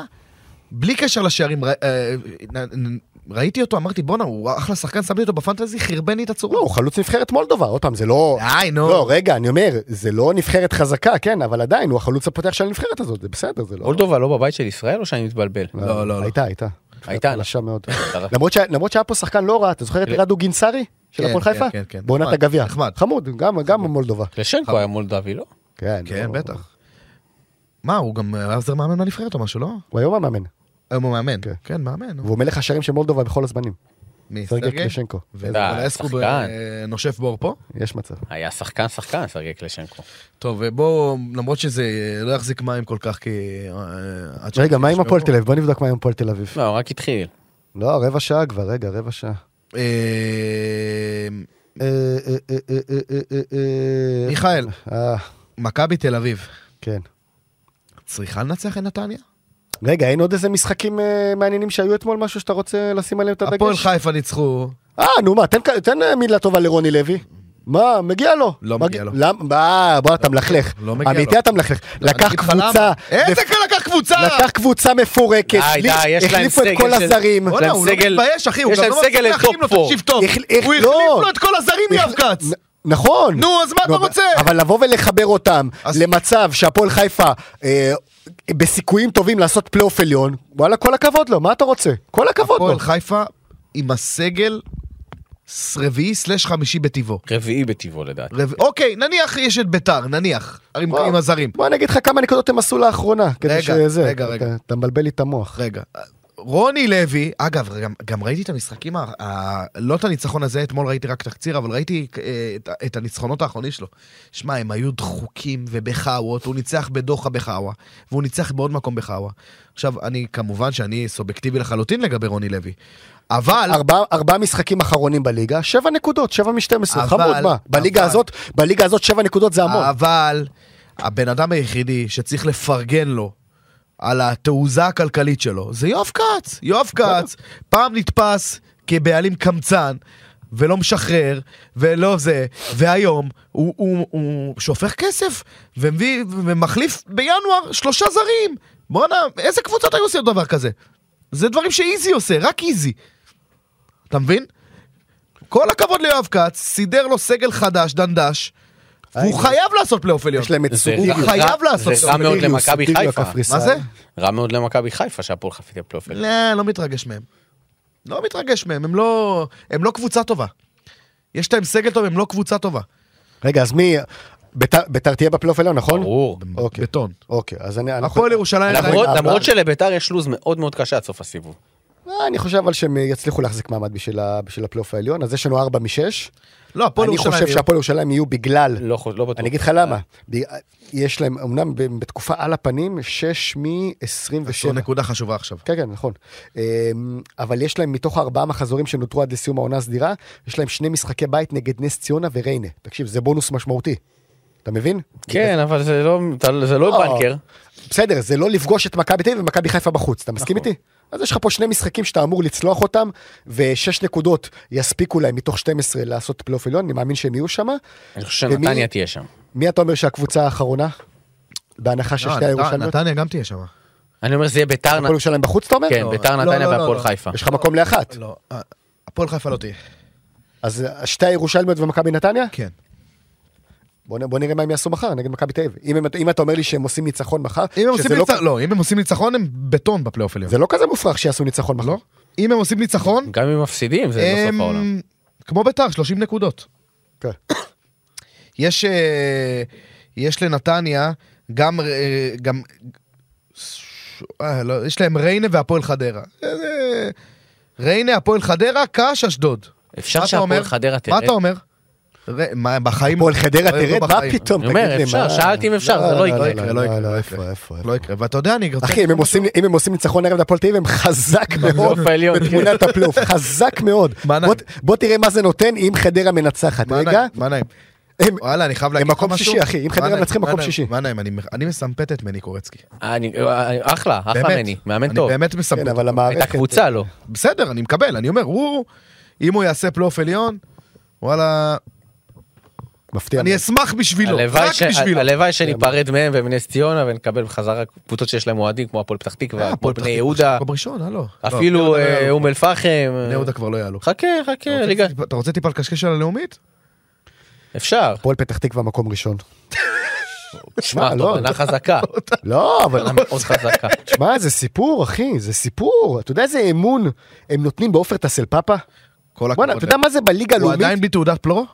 בלי קשר לשערים, ר- אה, נ- נ- ראיתי אותו, אמרתי, בואנה, הוא אחלה שחקן, שמתי אותו בפנטזי, חרבן לי את הצורה. לא, הוא חלוץ נבחרת מולדובה, עוד פעם, זה לא... די, נו. לא, רגע, אני אומר, זה לא נבחרת חזקה, כן, אבל עדיין, הוא החלוץ הפותח של הנבחרת הזאת, זה בסדר, זה לא... מולדובה לא בבית של ישראל או שאני מתבלבל? לא, לא, לא. הייתה, הייתה. הייתה, חלשה מאוד. נכון. למרות שה- למרות שהיה פה שחקן לא רע, אתה זוכר את כן. רדו גינסארי? של כן, הפועל כן, חיפה? כן, כן. בעונת נחמד, הגביע. נחמד. חמוד, גם- גם מולדובה. לשנקו היה מולדבי לא? כן, כן, לא- בטח. מה, הוא גם אה, היה עוזר מאמן בנבחרת או משהו, לא? הוא היום המאמן, היום הוא מאמן. כן. כן, מאמן. נו. והוא מלך השערים של מולדובה בכל הזמנים. מי, סרגי סרגי? קלשנקו. ולסקו אה, שחקן. אה, נושף בור פה. יש מצב. היה שחקן שחקן סרגי קלשנקו. טוב, אה, בואו, למרות שזה אה, לא יחזיק מים כל כך, כי... אה, עד רגע, ש- מה עם ישמעו. הפועל תל אביב? בוא נבדוק מה עם הפועל תל אביב. לא, הוא רק התחיל. לא, רבע שעה כבר, רגע, רבע שעה. אה, אה, אה, אה, אה, אה, אה, אה. מיכאל, אה, מכבי תל אביב כן. צריכה לנצח את נתניה? רגע, אין עוד איזה משחקים אה, מעניינים שהיו אתמול, משהו שאתה רוצה לשים עליהם את הפועל הדגש? חיפה ניצחו, אה, נו מה, תן כ- תן אה, מילה טובה לרוני לוי. מה, מגיע לו. לא מגיע לו. למה? בוא, אתה מלכלך. לא מגיע אמיתי לו. אתה מלכלך. אני לקח אגיד לך למה. קבוצה, איזה בפ- קל לקח קבוצה? לקח קבוצה מפורקת, די, די, יש להם החליפו את סגל כל של- הזרים. כן, בוא, בואנה, הוא לא יש להם סגל- מתבייש, אחי, הוא יש גם להם לא מצליח סגל להחרים לו, לטופ פור. תקשיב טוב. החל- הוא החליף החל- לא. לו את כל הזרים, נ- יאב כץ. נ- נכון. נו, אז מה אתה לא, רוצה? אבל לבוא ולחבר אותם אז- למצב שהפועל חיפה אה, בסיכויים טובים לעשות פלייאוף עליון, וואלה, כל הכבוד לו, מה אתה רוצה? כל הכבוד לו. הפועל חיפה עם הסגל רביעי סלש חמישי בטבעו. רביעי בטבעו לדעתי. רב... אוקיי, נניח יש את ביתר, נניח, עם, בוא, עם הזרים. בוא אני אגיד לך כמה נקודות הם עשו לאחרונה, כדי רגע, שזה, רגע, אתה- רגע. אתה מבלבל לי את המוח. רגע, רוני לוי, אגב, גם, גם ראיתי את המשחקים, ה- ה- לא את הניצחון הזה, אתמול ראיתי רק תקציר, אבל ראיתי אה, את, את הניצחונות האחרונים שלו. שמע, הם היו דחוקים ובחאוות, הוא ניצח בדוחה בחאווה, והוא ניצח בעוד מקום בחאווה. עכשיו, אני, כמובן שאני סובייקטיבי לחלוטין לגבי רוני לוי, אבל... ארבעה ארבעה משחקים אחרונים בליגה, שבע נקודות, שבע משתים עשרה, אבל- חמוד, מה? בליגה אבל- הזאת, בליגה הזאת שבע נקודות זה המון. אבל הבן אדם היחידי שצריך לפרגן לו על התעוזה הכלכלית שלו זה יואב כץ. יואב כץ פעם נתפס כבעלים קמצן, ולא משחרר, ולא זה, והיום הוא, הוא, הוא שופך כסף ומביא, ומחליף בינואר שלושה זרים. בואנה, איזה קבוצות היו עושים דבר כזה? זה דברים שאיזי עושה, רק איזי. אתה מבין? כל הכבוד ליואב כץ, סידר לו סגל חדש, דנדש, והוא חייב לעשות פלייאוף עליון. יש להם את זה סוטיליוס. רע- חייב לעשות זה רע מאוד סוטיליוס, למכבי סוטיליו חיפה. הקפריסאי. מה זה? רע מאוד למכבי חיפה שהפועל חיפה תהיה פלייאוף. עליון. לא, לא מתרגש מהם. לא מתרגש מהם, הם לא, הם לא קבוצה טובה. יש להם סגל טוב, הם לא קבוצה טובה. רגע, אז מי... ביתר- ביתר תהיה בפלייאוף העליון, נכון? ברור. אוקיי. בטון. אוקיי, אז אני... אנחנו- הפועל ירושלים... למרות- אבל- למרות שלביתר יש לו"ז מאוד מאוד קשה עד סוף הסיבוב. אה, אני חושב אבל שהם יצליחו להחזיק מעמד בשביל ה- בשביל הפלייאוף העליון, אז יש לנו ארבע משש. לא, הפועל אני ירושלים... חושב שהפועל ירושלים יהיו בגלל... לא חו- לא בטוח. אני אגיד לך למה. ב- יש להם, אמנם ב- בתקופה על הפנים, 6 זו מ-27. נקודה חשובה עכשיו. כן, כן, נכון. אמ, אבל יש להם, מתוך ארבעה מחזורים שנותרו עד לסיום העונה הסדירה, יש להם שני משחקי בית נגד נס ציונה וריינה. תקשיב, זה בונוס משמעותי. אתה מבין? כן, אבל זה לא- אתה- זה לא בנקר. בסדר, זה לא לפגוש את מכבי תל אביב ומכבי חיפה בחוץ, אתה מסכים נכון. איתי? אז יש לך פה שני משחקים שאתה אמור לצלוח אותם, ושש נקודות יספיקו להם מתוך 12 לעשות פלייאוף עליון, אני מאמין שהם יהיו שם. אני חושב שנתניה תהיה שם. מי אתה אומר שהקבוצה האחרונה? בהנחה לא, ששתי הירושלמיות? נתניה גם תהיה שם. אני אומר זה יהיה ביתר, נ- הפועל ירושלים בחוץ אתה אומר? כן, ביתר לא, נתניה לא, לא, והפועל לא. חיפה. יש לך מקום לאחת. לא, אה, הפועל חיפה לא תהיה. אז אה, שתי הירושלמיות ומכבי נתניה? כן. בוא, נ- בוא נראה מה הם יעשו מחר נגד מכבי תל אביב. אם, הם- אם אתה אומר לי שהם עושים ניצחון מחר, אם הם שזה עושים לא, ניצחון, לא, אם הם עושים ניצחון הם בטון בפלייאוף עליון. זה לא כזה מופרך שיעשו ניצחון מחר. לא? אם הם עושים ניצחון, גם אם מפסידים זה לא אמ, סוף העולם. הם כמו ביתר, 30 נקודות. כן. יש אה, יש לנתניה גם אה, גם אה, לא, יש להם ריינה והפועל חדרה. אה, זה- ריינה, הפועל חדרה, קאש, אשדוד. אפשר מה אתה שהפועל אומר? חדרה תרד. מה אתה אומר? ר- מה, בחיים... הפועל חדרה לא ירדו תרד, מה בחיים. פתאום, אני אומר, תגיד לי, אפשר, מה- שאלתי אם אפשר, זה לא יקרה. לא יקרה, לא איפה, איפה, איפה. לא יקרה, ואתה יודע, אני רוצה... אחי, אם הם עושים- אם הם עושים ניצחון ערב להפועל תל אביב, הם חזק מאוד העליון, כן. בתמונת הפלייאוף, חזק מאוד. מה נעים? בוא ת- בוא תראה מה זה נותן אם חדרה מנצחת. מה רגע, נעים, מה נעים? הם- וואלה, אני חייב להגיד לך משהו. מקום שישי, אחי, אם מה חדרה נעים, מנצחים, מה מקום נעים, שישי. מה נעים, אני מח- אני מסמפת את מני קורצקי. אני- אה, אחלה, אחלה באמת. מני, מאמן אני טוב. באמת מסמפת. כן, את אבל אותו. המערכת... הקבוצה לא. בסדר, אני מקבל, אני אומר, הוא... אם הוא יעשה פלייאוף עליון, וואלה, מפתיע. אני מאוד. אשמח בשבילו, הלוואי רק ש- בשבילו. הלוואי שניפרד מהם ומנס ציונה ונקבל בחזרה קבוצות שיש להם אוהדים כמו הפועל פתח אה, תקווה, כמו הפועל פתח בני תקווה יהודה, מקום ראשון, הלו. אפילו לא, בני יהודה לא אה, יעלו. אום אל פחם. בני יהודה כבר לא יעלו. חכה, חכה, אתה רוצה ליגה- טיפה- אתה רוצה טיפה לקשקש על הלאומית? אפשר. הפועל פתח תקווה מקום ראשון. שמע, לא. טוב, עונה חזקה. לא, אבל... עונה מאוד חזקה. שמע, זה סיפור, אחי, זה סיפור. אתה יודע איזה אמון הם נותנים בעופר טסל פאפה? כל הכבוד. בואנה, אתה יודע מה זה בליגה הוא הלאומית? עדיין בלי תעודת פלורו?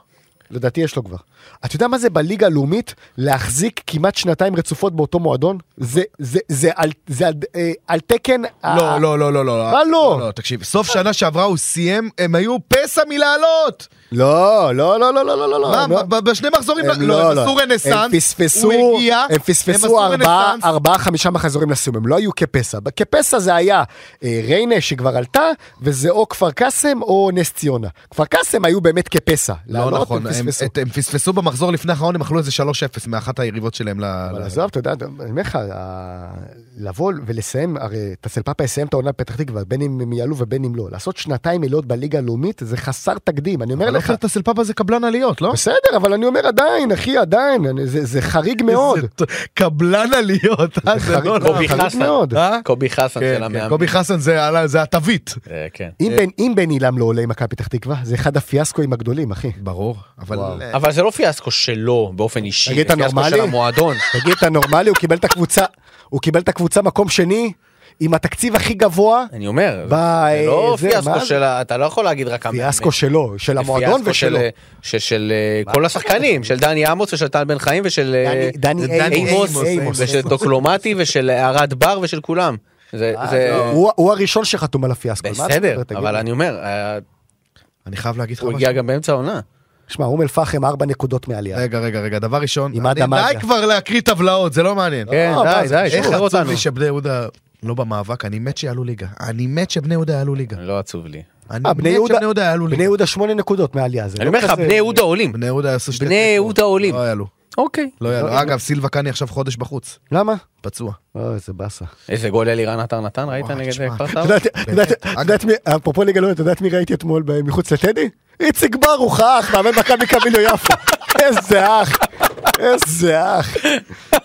לדעתי יש לו כבר. אתה יודע מה זה בליגה הלאומית להחזיק כמעט שנתיים רצופות באותו מועדון? זה- זה- זה על- זה על- אה, על תקן... ה- לא, לא, לא, לא, לא. מה לא? לא, תקשיב, סוף שנה שעברה הוא סיים, הם היו פסע מלעלות. לא, לא, לא, לא, לא, לא, לא, לא. מה, הם לא- ב- בשני מחזורים, הם לא, הם לא. עשו רנסאנס, הם פספסו, הוא הגיע, הם פספסו עשו ארבעה, רנסאנס. ארבעה, חמישה מחזורים לסיום, הם לא היו כפסע. ב- כפסע זה היה אה, ריינה שכבר עלתה, וזה או כפר קאסם או נס ציונה. כפר קאסם היו באמת כפסע. לא לעלות, הם נכון, הם- פספסו. את- הם פספסו במחזור לפני האחרון, הם אכלו איזה 3-0 מאחת היריבות שלהם ל... אבל ל- עזוב, אתה יודע, אני אומר לך, ה- לבוא ולסיים, הרי טסל פאפה יסיים את העונה בפתח תקווה, בין אם הם יעלו ובין אם לא. לעשות שנתיים עיליות בליגה הלאומית זה חסר תקדים, אני אומר לא אבל לך. עופר טסלפאפה זה קבלן עליות, לא? בסדר, אבל אני אומר עדיין, אחי, עדיין, אני- זה זה חריג מאוד. איזה ט- קלן עליות, אה, זה חריג לא... מאוד. לא. קובי חריג חסן, מאוד. אה? קובי חסן כן, של כן, המאמן. קובי חסן זה עלה- זה התווית. אה, כן. אם בן- אם בן עילם לא עולה עם מכבי פתח תקווה, זה אחד הפיאסקואים הגדולים, אחי. ברור, אבל... וואו. אה, אבל זה לא פיאסקו שלו באופן אישי, תגיד, זה אתה פיאסקו נורמלי? של המועדון. תגיד, אתה נורמלי? הוא קיבל את הקבוצה, הוא קיבל את הקבוצה מקום שני, עם התקציב הכי גבוה, אני אומר, ב- זה לא זה, מה פיאסקו זה? של, ה- אתה לא יכול להגיד רק המאמן. פיאסקו שלו, של זה המועדון פיאסקו ושלו. של, ש- של אה, כל השחקנים, של דני עמוס ושל טל בן חיים ושל אה, דני- אה, דני עמוס, עמוס, עמוס, ושל עמוס. דוקלומטי ושל ערד בר ושל כולם. זה, אה, זה אה, לא. הוא הוא הראשון שחתום על הפיאסקו. מה אתה בסדר, מדבר, תגיד אבל לי? אני אומר, אה, אני חייב להגיד לך הוא משהו. הגיע גם באמצע העונה. שמע, אום אל פחם ארבע נקודות מעלייה. רגע, רגע, רגע, דבר ראשון, עם אני- אדם די עדיה. כבר להקריא טבלאות, זה לא מעניין. כן, מה, די, זה די, איך שחרר עצוב אותנו. לי שבני יהודה לא במאבק, אני מת שיעלו ליגה. אני מת שבני יהודה יעלו ליגה. לא עצוב לי. אני אה, מת בני שבני יהודה, יהודה יעלו בני ליגה. יהודה שמונה נקודות מעלייה. זה אני לא אומר לך, כזה- בני יהודה עולים. בני יהודה יעשו שתי... בני תיקו. יהודה עולים. לא יעלו. אוקיי. לא יעלה. אגב, סילבה קאני עכשיו חודש בחוץ, למה? פצוע. אוי, איזה באסה. איזה גול אלירן עטר נתן, ראית וואי, נגד תשמע. כפר את סבא? יודעת- את יודעת- את יודעת מי, אפרופו ליגה לאומית, את יודעת מי ראיתי אתמול ב- מחוץ לטדי? איציק ברוך, האח, מאמן מכבי קביליו יפו. איזה אח, איזה אח.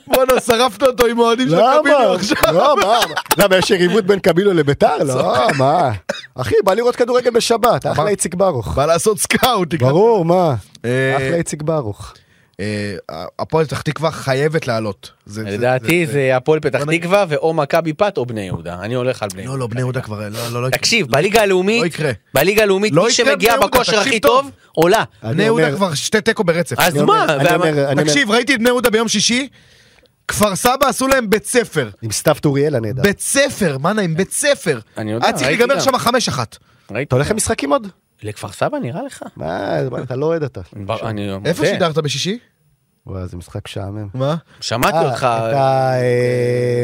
בואנה, שרפת אותו עם אוהדים של למה? קביליו עכשיו. לא, מה? למה, יש יריבות בין קביליו לביתר? לא, מה? אחי, בא לראות כדורגל בשבת, אחלה אמר- איציק ברוך. בא לעשות סקאוט. תקרא. ברור, מה? אה, אחלה איציק ברוך. אה, הפועל פתח תקווה חייבת לעלות. זה- זה- לדעתי זה הפועל פתח תקווה ואו מכבי פת או בני יהודה. אני הולך על בני לא, יהודה. לא, בני יהודה כבר, לא, לא, לא. תקשיב, בליגה הלאומית, לא יקרה. בליגה הלאומית, לא מי יקרה שמגיע בני יהודה, בכושר תקשיב הכי טוב. טוב, אה, עולה. אני בני יהודה אומר- כבר שתי תיקו ברצף. אז אני מה? אומר- אני וה- אומר- אני אומר- תקשיב, ראיתי את בני יהודה ביום שישי, כפר סבא עשו להם בית ספר. עם סתיו טוריאל הנהדר. בית ספר, מנה עם בית ספר. אני יודע, היה צריך ראיתי להיגמר גם. שם חמש אחת. ראית? אתה הולך למשחקים עוד? לכפר סבא נראה לך? כן. מה, אתה לא אוהד אתה. בר- אני מודה. איפה שידרת בשישי? וואי, זה משחק משעמם. מה? שמעתי אה, אותך. אה, את ה-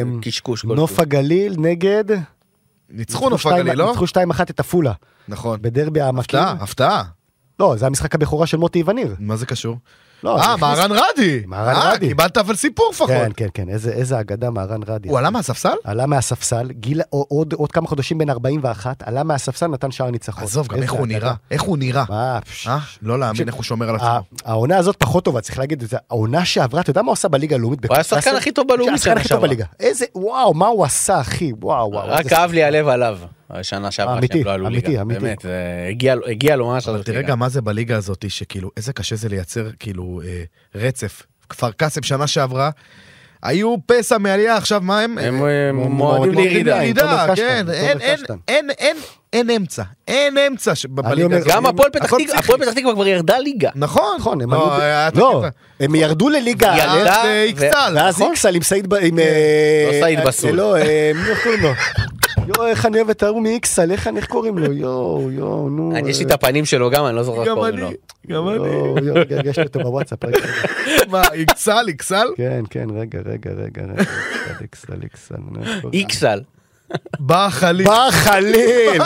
אמ, קשקוש נוף כלשהו. הגליל נגד... ניצחו נוף שתיים- הגליל, לא? ניצחו כן. 2-1 את עפולה, נכון. בדרבי העמקים. הפתעה, הפתעה. לא, זה המשחק הבכורה של מוטי וניר. מה זה קשור? לא, אה, נכנס- מהרן רדי. מהרן רדי. אה, קיבלת אבל סיפור כן, לפחות. כן, כן, איזה- איזה אגדה מהרן רדי. הוא עלה מהספסל? עלה מהספסל, גיל עוד עוד כמה חודשים בן 41, עלה מהספסל, נתן שער ניצחון. עזוב, גם איזה איך הוא אגדה. נראה. איך הוא נראה. מה, פש- אה? לא להאמין איך הוא שומר על עצמו. ה- העונה הזאת פחות טובה, צריך להגיד את זה. העונה שעברה, אתה יודע מה הוא עשה בליגה הלאומית? הוא היה השחקן הכי טוב בלאומית השחקן הכי שנה טוב בליגה. איזה, וואו, מה הוא עשה, אחי? וואו, וואו. רק איזה- כאב לי הלב עליו, השנה שעברה אמיתי, שהם לא עלו אמיתי, ליגה. אמיתי. באמת, זה הגיע לו- הגיע לו ממש אבל לעלות תראה ליגה. גם מה זה בליגה הזאת, שכאילו, איזה קשה זה לייצר כאילו אה, רצף. כפר קאסם שנה שעברה, היו פסע מעלייה, עכשיו מה הם? הם אה, אה, מועמדים מועדים לירידה, לירידה. עם ירידה, תומר קשטן, כן, עם אין, תומר אין, קשטן. אין, אין, אין אמצע, אין אמצע ש- אומר, בליגה הזאת. גם הפועל פתח הכל תקווה, פסיכי. הפועל פתח תקווה כבר ירדה ליגה. נכון, נכון, הם לא, היה היו... את לא, הקטע. הם ירדו לליגה ירדה, א', אז, אה, ו- יקצל. ואז נכון. איקסל עם סעיד... ב- כן. עם, אה, לא סעיד אה, בסול. לא, אה, מי איך קוראים לו? יואו, איך אני אוהב את ההוא מאיקסל, איך אני- איך קוראים לו? יואו, יואו, נו. אה, אני, יש לי את הפנים שלו גם, אני לא זוכר איך גם קוראים אני, לו. גם אני. יואו, יואו, רגע, יש לי אותו בוואטסאפ. רגע, רגע. מה, יקסל, יקסל? כן, כן, רגע, רגע, רגע, רגע. איקסל, איקסל, איקסל. נו, איך קוראים לו? איקסל. בא חליף. בר חליל!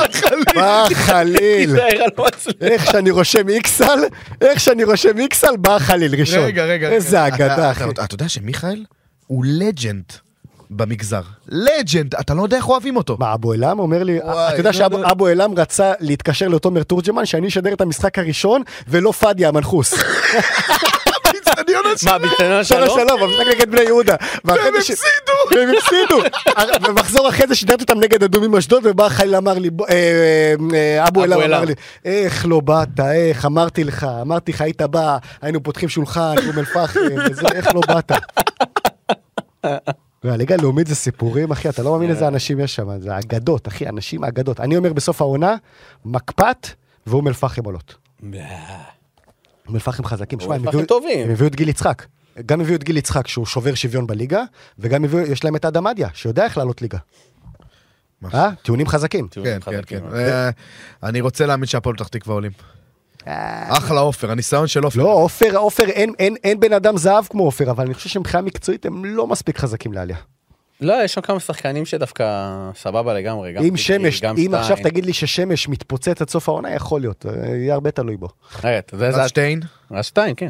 בר חליל! תיזהר על מצלם. איך שאני רושם איקסל, איך שאני רושם איקסל, בר חליל ראשון. רגע, רגע. איזה רגע. אגדה, אתה- אחי. אתה- אתה יודע שמיכאל הוא לג'נד במגזר. לג'נד, אתה לא יודע איך אוהבים אותו. מה, אבו אלעם אומר לי, "אה, וואי, אתה יודע לא, לא. שאבו אלעם רצה להתקשר לתומר תורג'מן, שאני אשדר את המשחק הראשון, ולא פדיה המנחוס. באצטדיון השני. מה, ביצענו שלום שלום? שלום, המשחק נגד בני יהודה. ואחרי והם זה ש- והם הפסידו! הר- ומחזור אחרי זה שידרתי אותם נגד אדומים אשדוד, ובא חייל אמר לי, בוא- אה, אה, אה, אבו אבו אלעם אמר אלעם. לי, איך לא באת, איך, אמרתי לך, אמרתי לך, היית בא, היינו פותחים שולחן, אום אל-פחם, וזה, איך לא באת. הליגה הלאומית זה סיפורים, אחי, אתה לא מאמין איזה אנשים יש שם, זה אגדות, אחי, אנשים אגדות. אני אומר בסוף העונה, מקפת ואום אל-פחם עולות. אום אל-פחם חזקים. שמע, הם אל-פחם הביאו- טובים. הם הביאו את גיל יצחק. גם הביאו את גיל יצחק שהוא שובר שוויון בליגה, וגם הביאו, יש להם את אדם עדיה, שיודע איך לעלות ליגה. אה? טיעונים חזקים. כן, כן, כן. אה, אני רוצה להאמין שהפועל פתח תקווה עולים. אחלה עופר, הניסיון של עופר. לא, עופר, עופר, אין, אין, אין בן אדם זהב כמו עופר, אבל אני חושב שמבחינה מקצועית הם לא מספיק חזקים לעלייה. לא, יש שם כמה שחקנים שדווקא סבבה לגמרי. גם אם טיטי, שמש, גם אם עכשיו שטיין. תגיד לי ששמש מתפוצץ עד סוף העונה, יכול להיות, אה, יהיה הרבה תלוי בו. רגע, אתה יודע איזה... אז שטיין. אז שתיים, כן.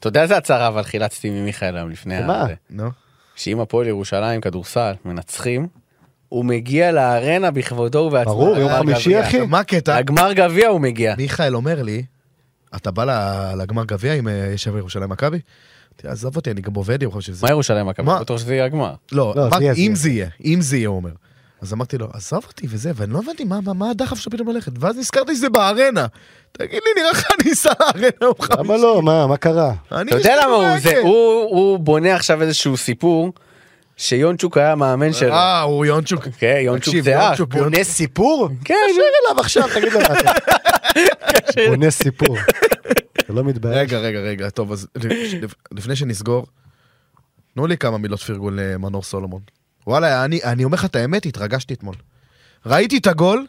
אתה יודע איזה הצהרה אבל חילצתי ממיכאל היום לפני... אה. מה? הזה. נו. שאם הפועל ירושלים, כדורסל, מנצחים, הוא מגיע לארנה בכבודו ובעצמו. ברור, יום לגמר חמישי, גביע. אחי. מה הקטע? לגמר גביע הוא מגיע. מיכאל אומר לי, אתה בא ל- לגמר גביע עם אה, יש שם ירושלים מכבי? אמרתי, עזוב אותי, אני גם עובד יום חושב שזה. מה ירושלים מכבי? מה? בטוח שזה יהיה הגמר. לא, לא, זה אמרתי, יהיה, זה אם יהיה. זה יהיה, אם זה יהיה, הוא אומר. אז אמרתי לו, עזוב אותי וזה, ואני לא הבנתי מה- מה- מה הדחף שלו פתאום ללכת, ואז נזכרתי שזה בארנה. תגיד לי, נראה לך אני אסע לארנה יום חמישי? למה לא, מה, מה קרה? אני אתה יודע יש לי למה הוא זה, רגל. הוא- הוא בונה עכשיו איזשהו סיפור, שיונצ'וק היה המאמן שלו. אה, הוא יונצ'וק. כן, יונצ'וק תקשיב, זה אח. יונצ'וק, יונצ'וק. בונה סיפור? כן, תקשר אליו עכשיו, תגיד לו מה אתה. בונה סיפור. אתה לא מתבייש. רגע, רגע, רגע, טוב, אז לפ- לפני שנסגור, תנו לי כמה מילות פרגון למנור סולומון. וואלה, אני, אני אומר לך את האמת, התרגשתי אתמול. ראיתי את הגול,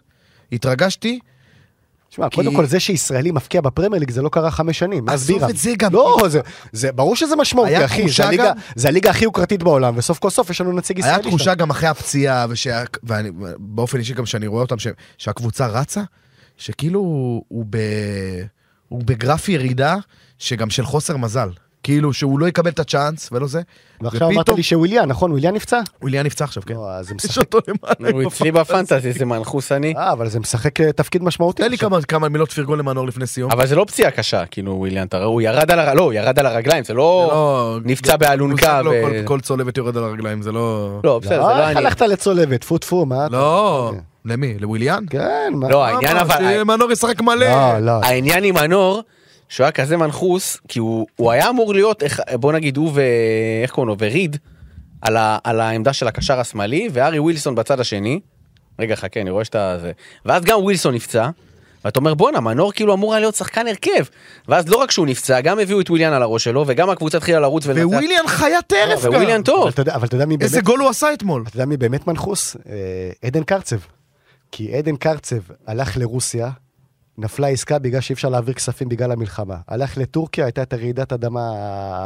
התרגשתי, תשמע, כי- קודם כל זה שישראלי מפקיע בפרמייר ליג זה לא קרה חמש שנים. מאז עזוב בירם. את זה גם. לא, זה- זה ברור שזה משמעותי, היה אחי. תחושה זה הליגה- גם- זה הליגה הכי יוקרתית בעולם, וסוף כל סוף יש לנו נציג ישראלי. היה שם. תחושה גם אחרי הפציעה, ושה- ואני- באופן אישי גם שאני רואה אותם, ש- שהקבוצה רצה, שכאילו הוא ב- הוא בגרף ירידה, שגם של חוסר מזל. כאילו שהוא לא יקבל את הצ'אנס ולא זה. ועכשיו אמרת לי שוויליאן, נכון? וויליאן נפצע? הוא עניין נפצע עכשיו, כן. לא, אז זה יש משחק... אותו למעלה. הוא אצלי בפנטזי, זה מנחוס אני. אה, אבל זה משחק אה, תפקיד משמעותי. תן לי עכשיו. כמה- כמה מילות פרגון למנור לפני אה. סיום. אבל זה לא פציעה קשה, כאילו וויליאן, אתה רואה, הוא ירד על הר- לא, הוא ירד על הרגליים, זה זה לא... לא- נפצע באלונקה לא, ו- כל- כל צולבת יורד על הרגליים, זה לא... לא, בסדר, זה לא, לא איך אני. הלכת לצולבת? טפו טפו, מה? אתה- לא, אוקיי. למי? לוויליאן? כן, מה? לא, העניין למה? אבל... שמנור ישחק מלא. לא, לא. העניין עם מנור, שהוא היה כזה מנחוס, כי הוא, הוא היה אמור להיות, איך- בוא נגיד הוא ו... איך קוראים לו? וריד, על, ה, על העמדה של הקשר השמאלי, והארי ווילסון בצד השני. רגע, חכה, אני רואה שאתה... זה. ואז גם ווילסון נפצע, ואתה אומר, בואנה, מנור כאילו אמור היה להיות שחקן הרכב. ואז לא רק שהוא נפצע, גם הביאו את וויליאן על הראש שלו, וגם הקבוצה התחילה לרוץ לא. ולנצח. וויליאן חיית לא, טרף גם. וויליאן אבל טוב. אתה יודע- אבל אתה יודע מי באמת... איזה גול הוא עשה אתמול. אתה יודע מי באמת מנחוס? אה, עדן קרצב. כי עדן קרצב הלך לרוסיה, נפלה עסקה בגלל שאי אפשר להעביר כספים בגלל המלחמה. הלך לטורקיה, הייתה את הרעידת אדמה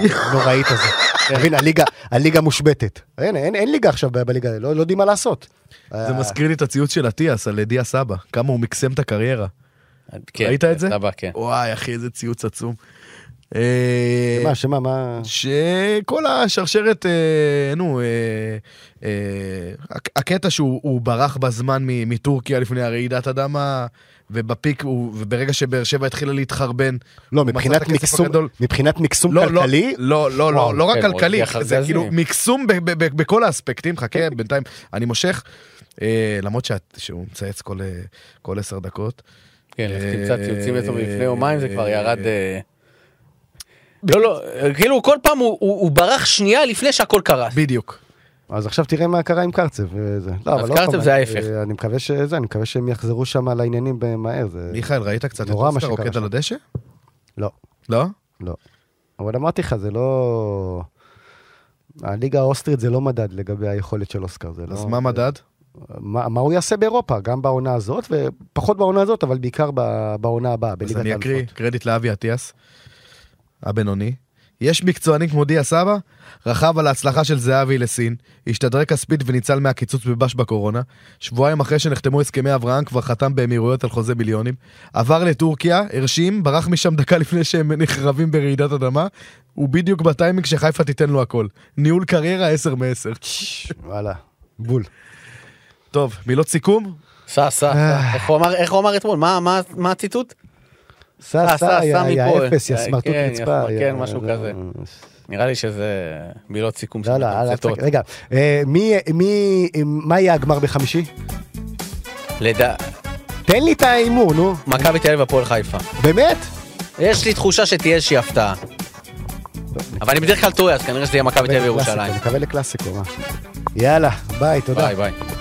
הנוראית הזאת. אתה מבין, הליגה- הליגה מושבתת. אין- אין אין ליגה עכשיו ב- בליגה, לא לא יודעים מה לעשות. אה. זה מזכיר לי את הציוץ של אטיאס על דיה סבא, כמה הוא מקסם את הקריירה. כן, ראית את זה? סבבה, כן. וואי, אחי, איזה ציוץ עצום. אה, מה, שמה, מה... שכל השרשרת, אה, נו, אה, אה, הק- הקטע שהוא הוא ברח בזמן מ- מטורקיה לפני הרעידת אדמה, ובפיק, הוא- וברגע שבאר שבע התחילה להתחרבן, לא, הוא מצא את מבחינת הכסף מקסום- הגדול. מבחינת מקסום לא, לא, כלכלי, לא, לא, וואו, לא, לא רק כן, כלכלי, מוריד זה החרדזים. כאילו מקסום ב- ב- ב- בכל האספקטים, חכה, בינתיים, אני מושך, אה, למרות שאת- שהוא מצייץ כל, אה, כל עשר דקות. כן, לך אה, תמצא ציוצים אצלו מלפני אה, יומיים, זה כבר אה, ירד... אה, לא, לא, אה, כאילו כל פעם הוא- הוא הוא ברח שנייה לפני שהכל קרס. בדיוק. אז עכשיו תראה מה קרה עם קרצב. וזה. לא, אז אבל עוד קרצב פעם, זה אני- ההפך. אני מקווה שזה, אני מקווה שהם יחזרו שם לעניינים מהר. זה- מיכאל, ראית קצת את נורא מה אוסקר שקרה רוקד שם. על הדשא? לא. לא? לא. אבל אמרתי לך, זה לא... הליגה האוסטרית זה לא מדד לגבי היכולת של אוסקר. זה אז לא... מה המדד? מה, מה הוא יעשה באירופה, גם בעונה הזאת, ופחות בעונה הזאת, אבל בעיקר ב- בעונה הבאה, אז בליגת אני האלופות. אקריא קרדיט לאבי אטיאס, הבינוני. יש מקצוענים כמו דיה סבא, רכב על ההצלחה של זהבי לסין, השתדרג כספית וניצל מהקיצוץ בבש בקורונה, שבועיים אחרי שנחתמו הסכמי אברהם כבר חתם באמירויות על חוזה מיליונים, עבר לטורקיה, הרשים, ברח משם דקה לפני שהם נחרבים ברעידת אדמה, הוא בדיוק בטיימינג שחיפה תיתן לו הכל. ניהול קריירה 10 מ-10. וואלה, בול. טוב, מילות סיכום? סע, סע, סע. איך הוא אמר- איך הוא אמר אתמול? מה- מה- מה הציטוט? סע, סע, סע, סע יא מפה. יא אפס, יא כן, סמרטוט יא רצפה. סמר- יא- כן, משהו כזה. נראה לי שזה מילות סיכום לא, לא, אל מתמצתות. תצחק. רגע, אה, מי, מי, מה יהיה הגמר בחמישי? לדע... תן לי את ההימור, נו. מכבי תל אביב הפועל חיפה. באמת? יש לי תחושה שתהיה איזושהי הפתעה. אבל אני בדרך כלל טועה, אז כנראה שזה יהיה מכבי תל אביב ירושלים. לקלאסיקו, מקווה לקלאסיקו, מה? יאללה, ביי, תודה. ביי ביי.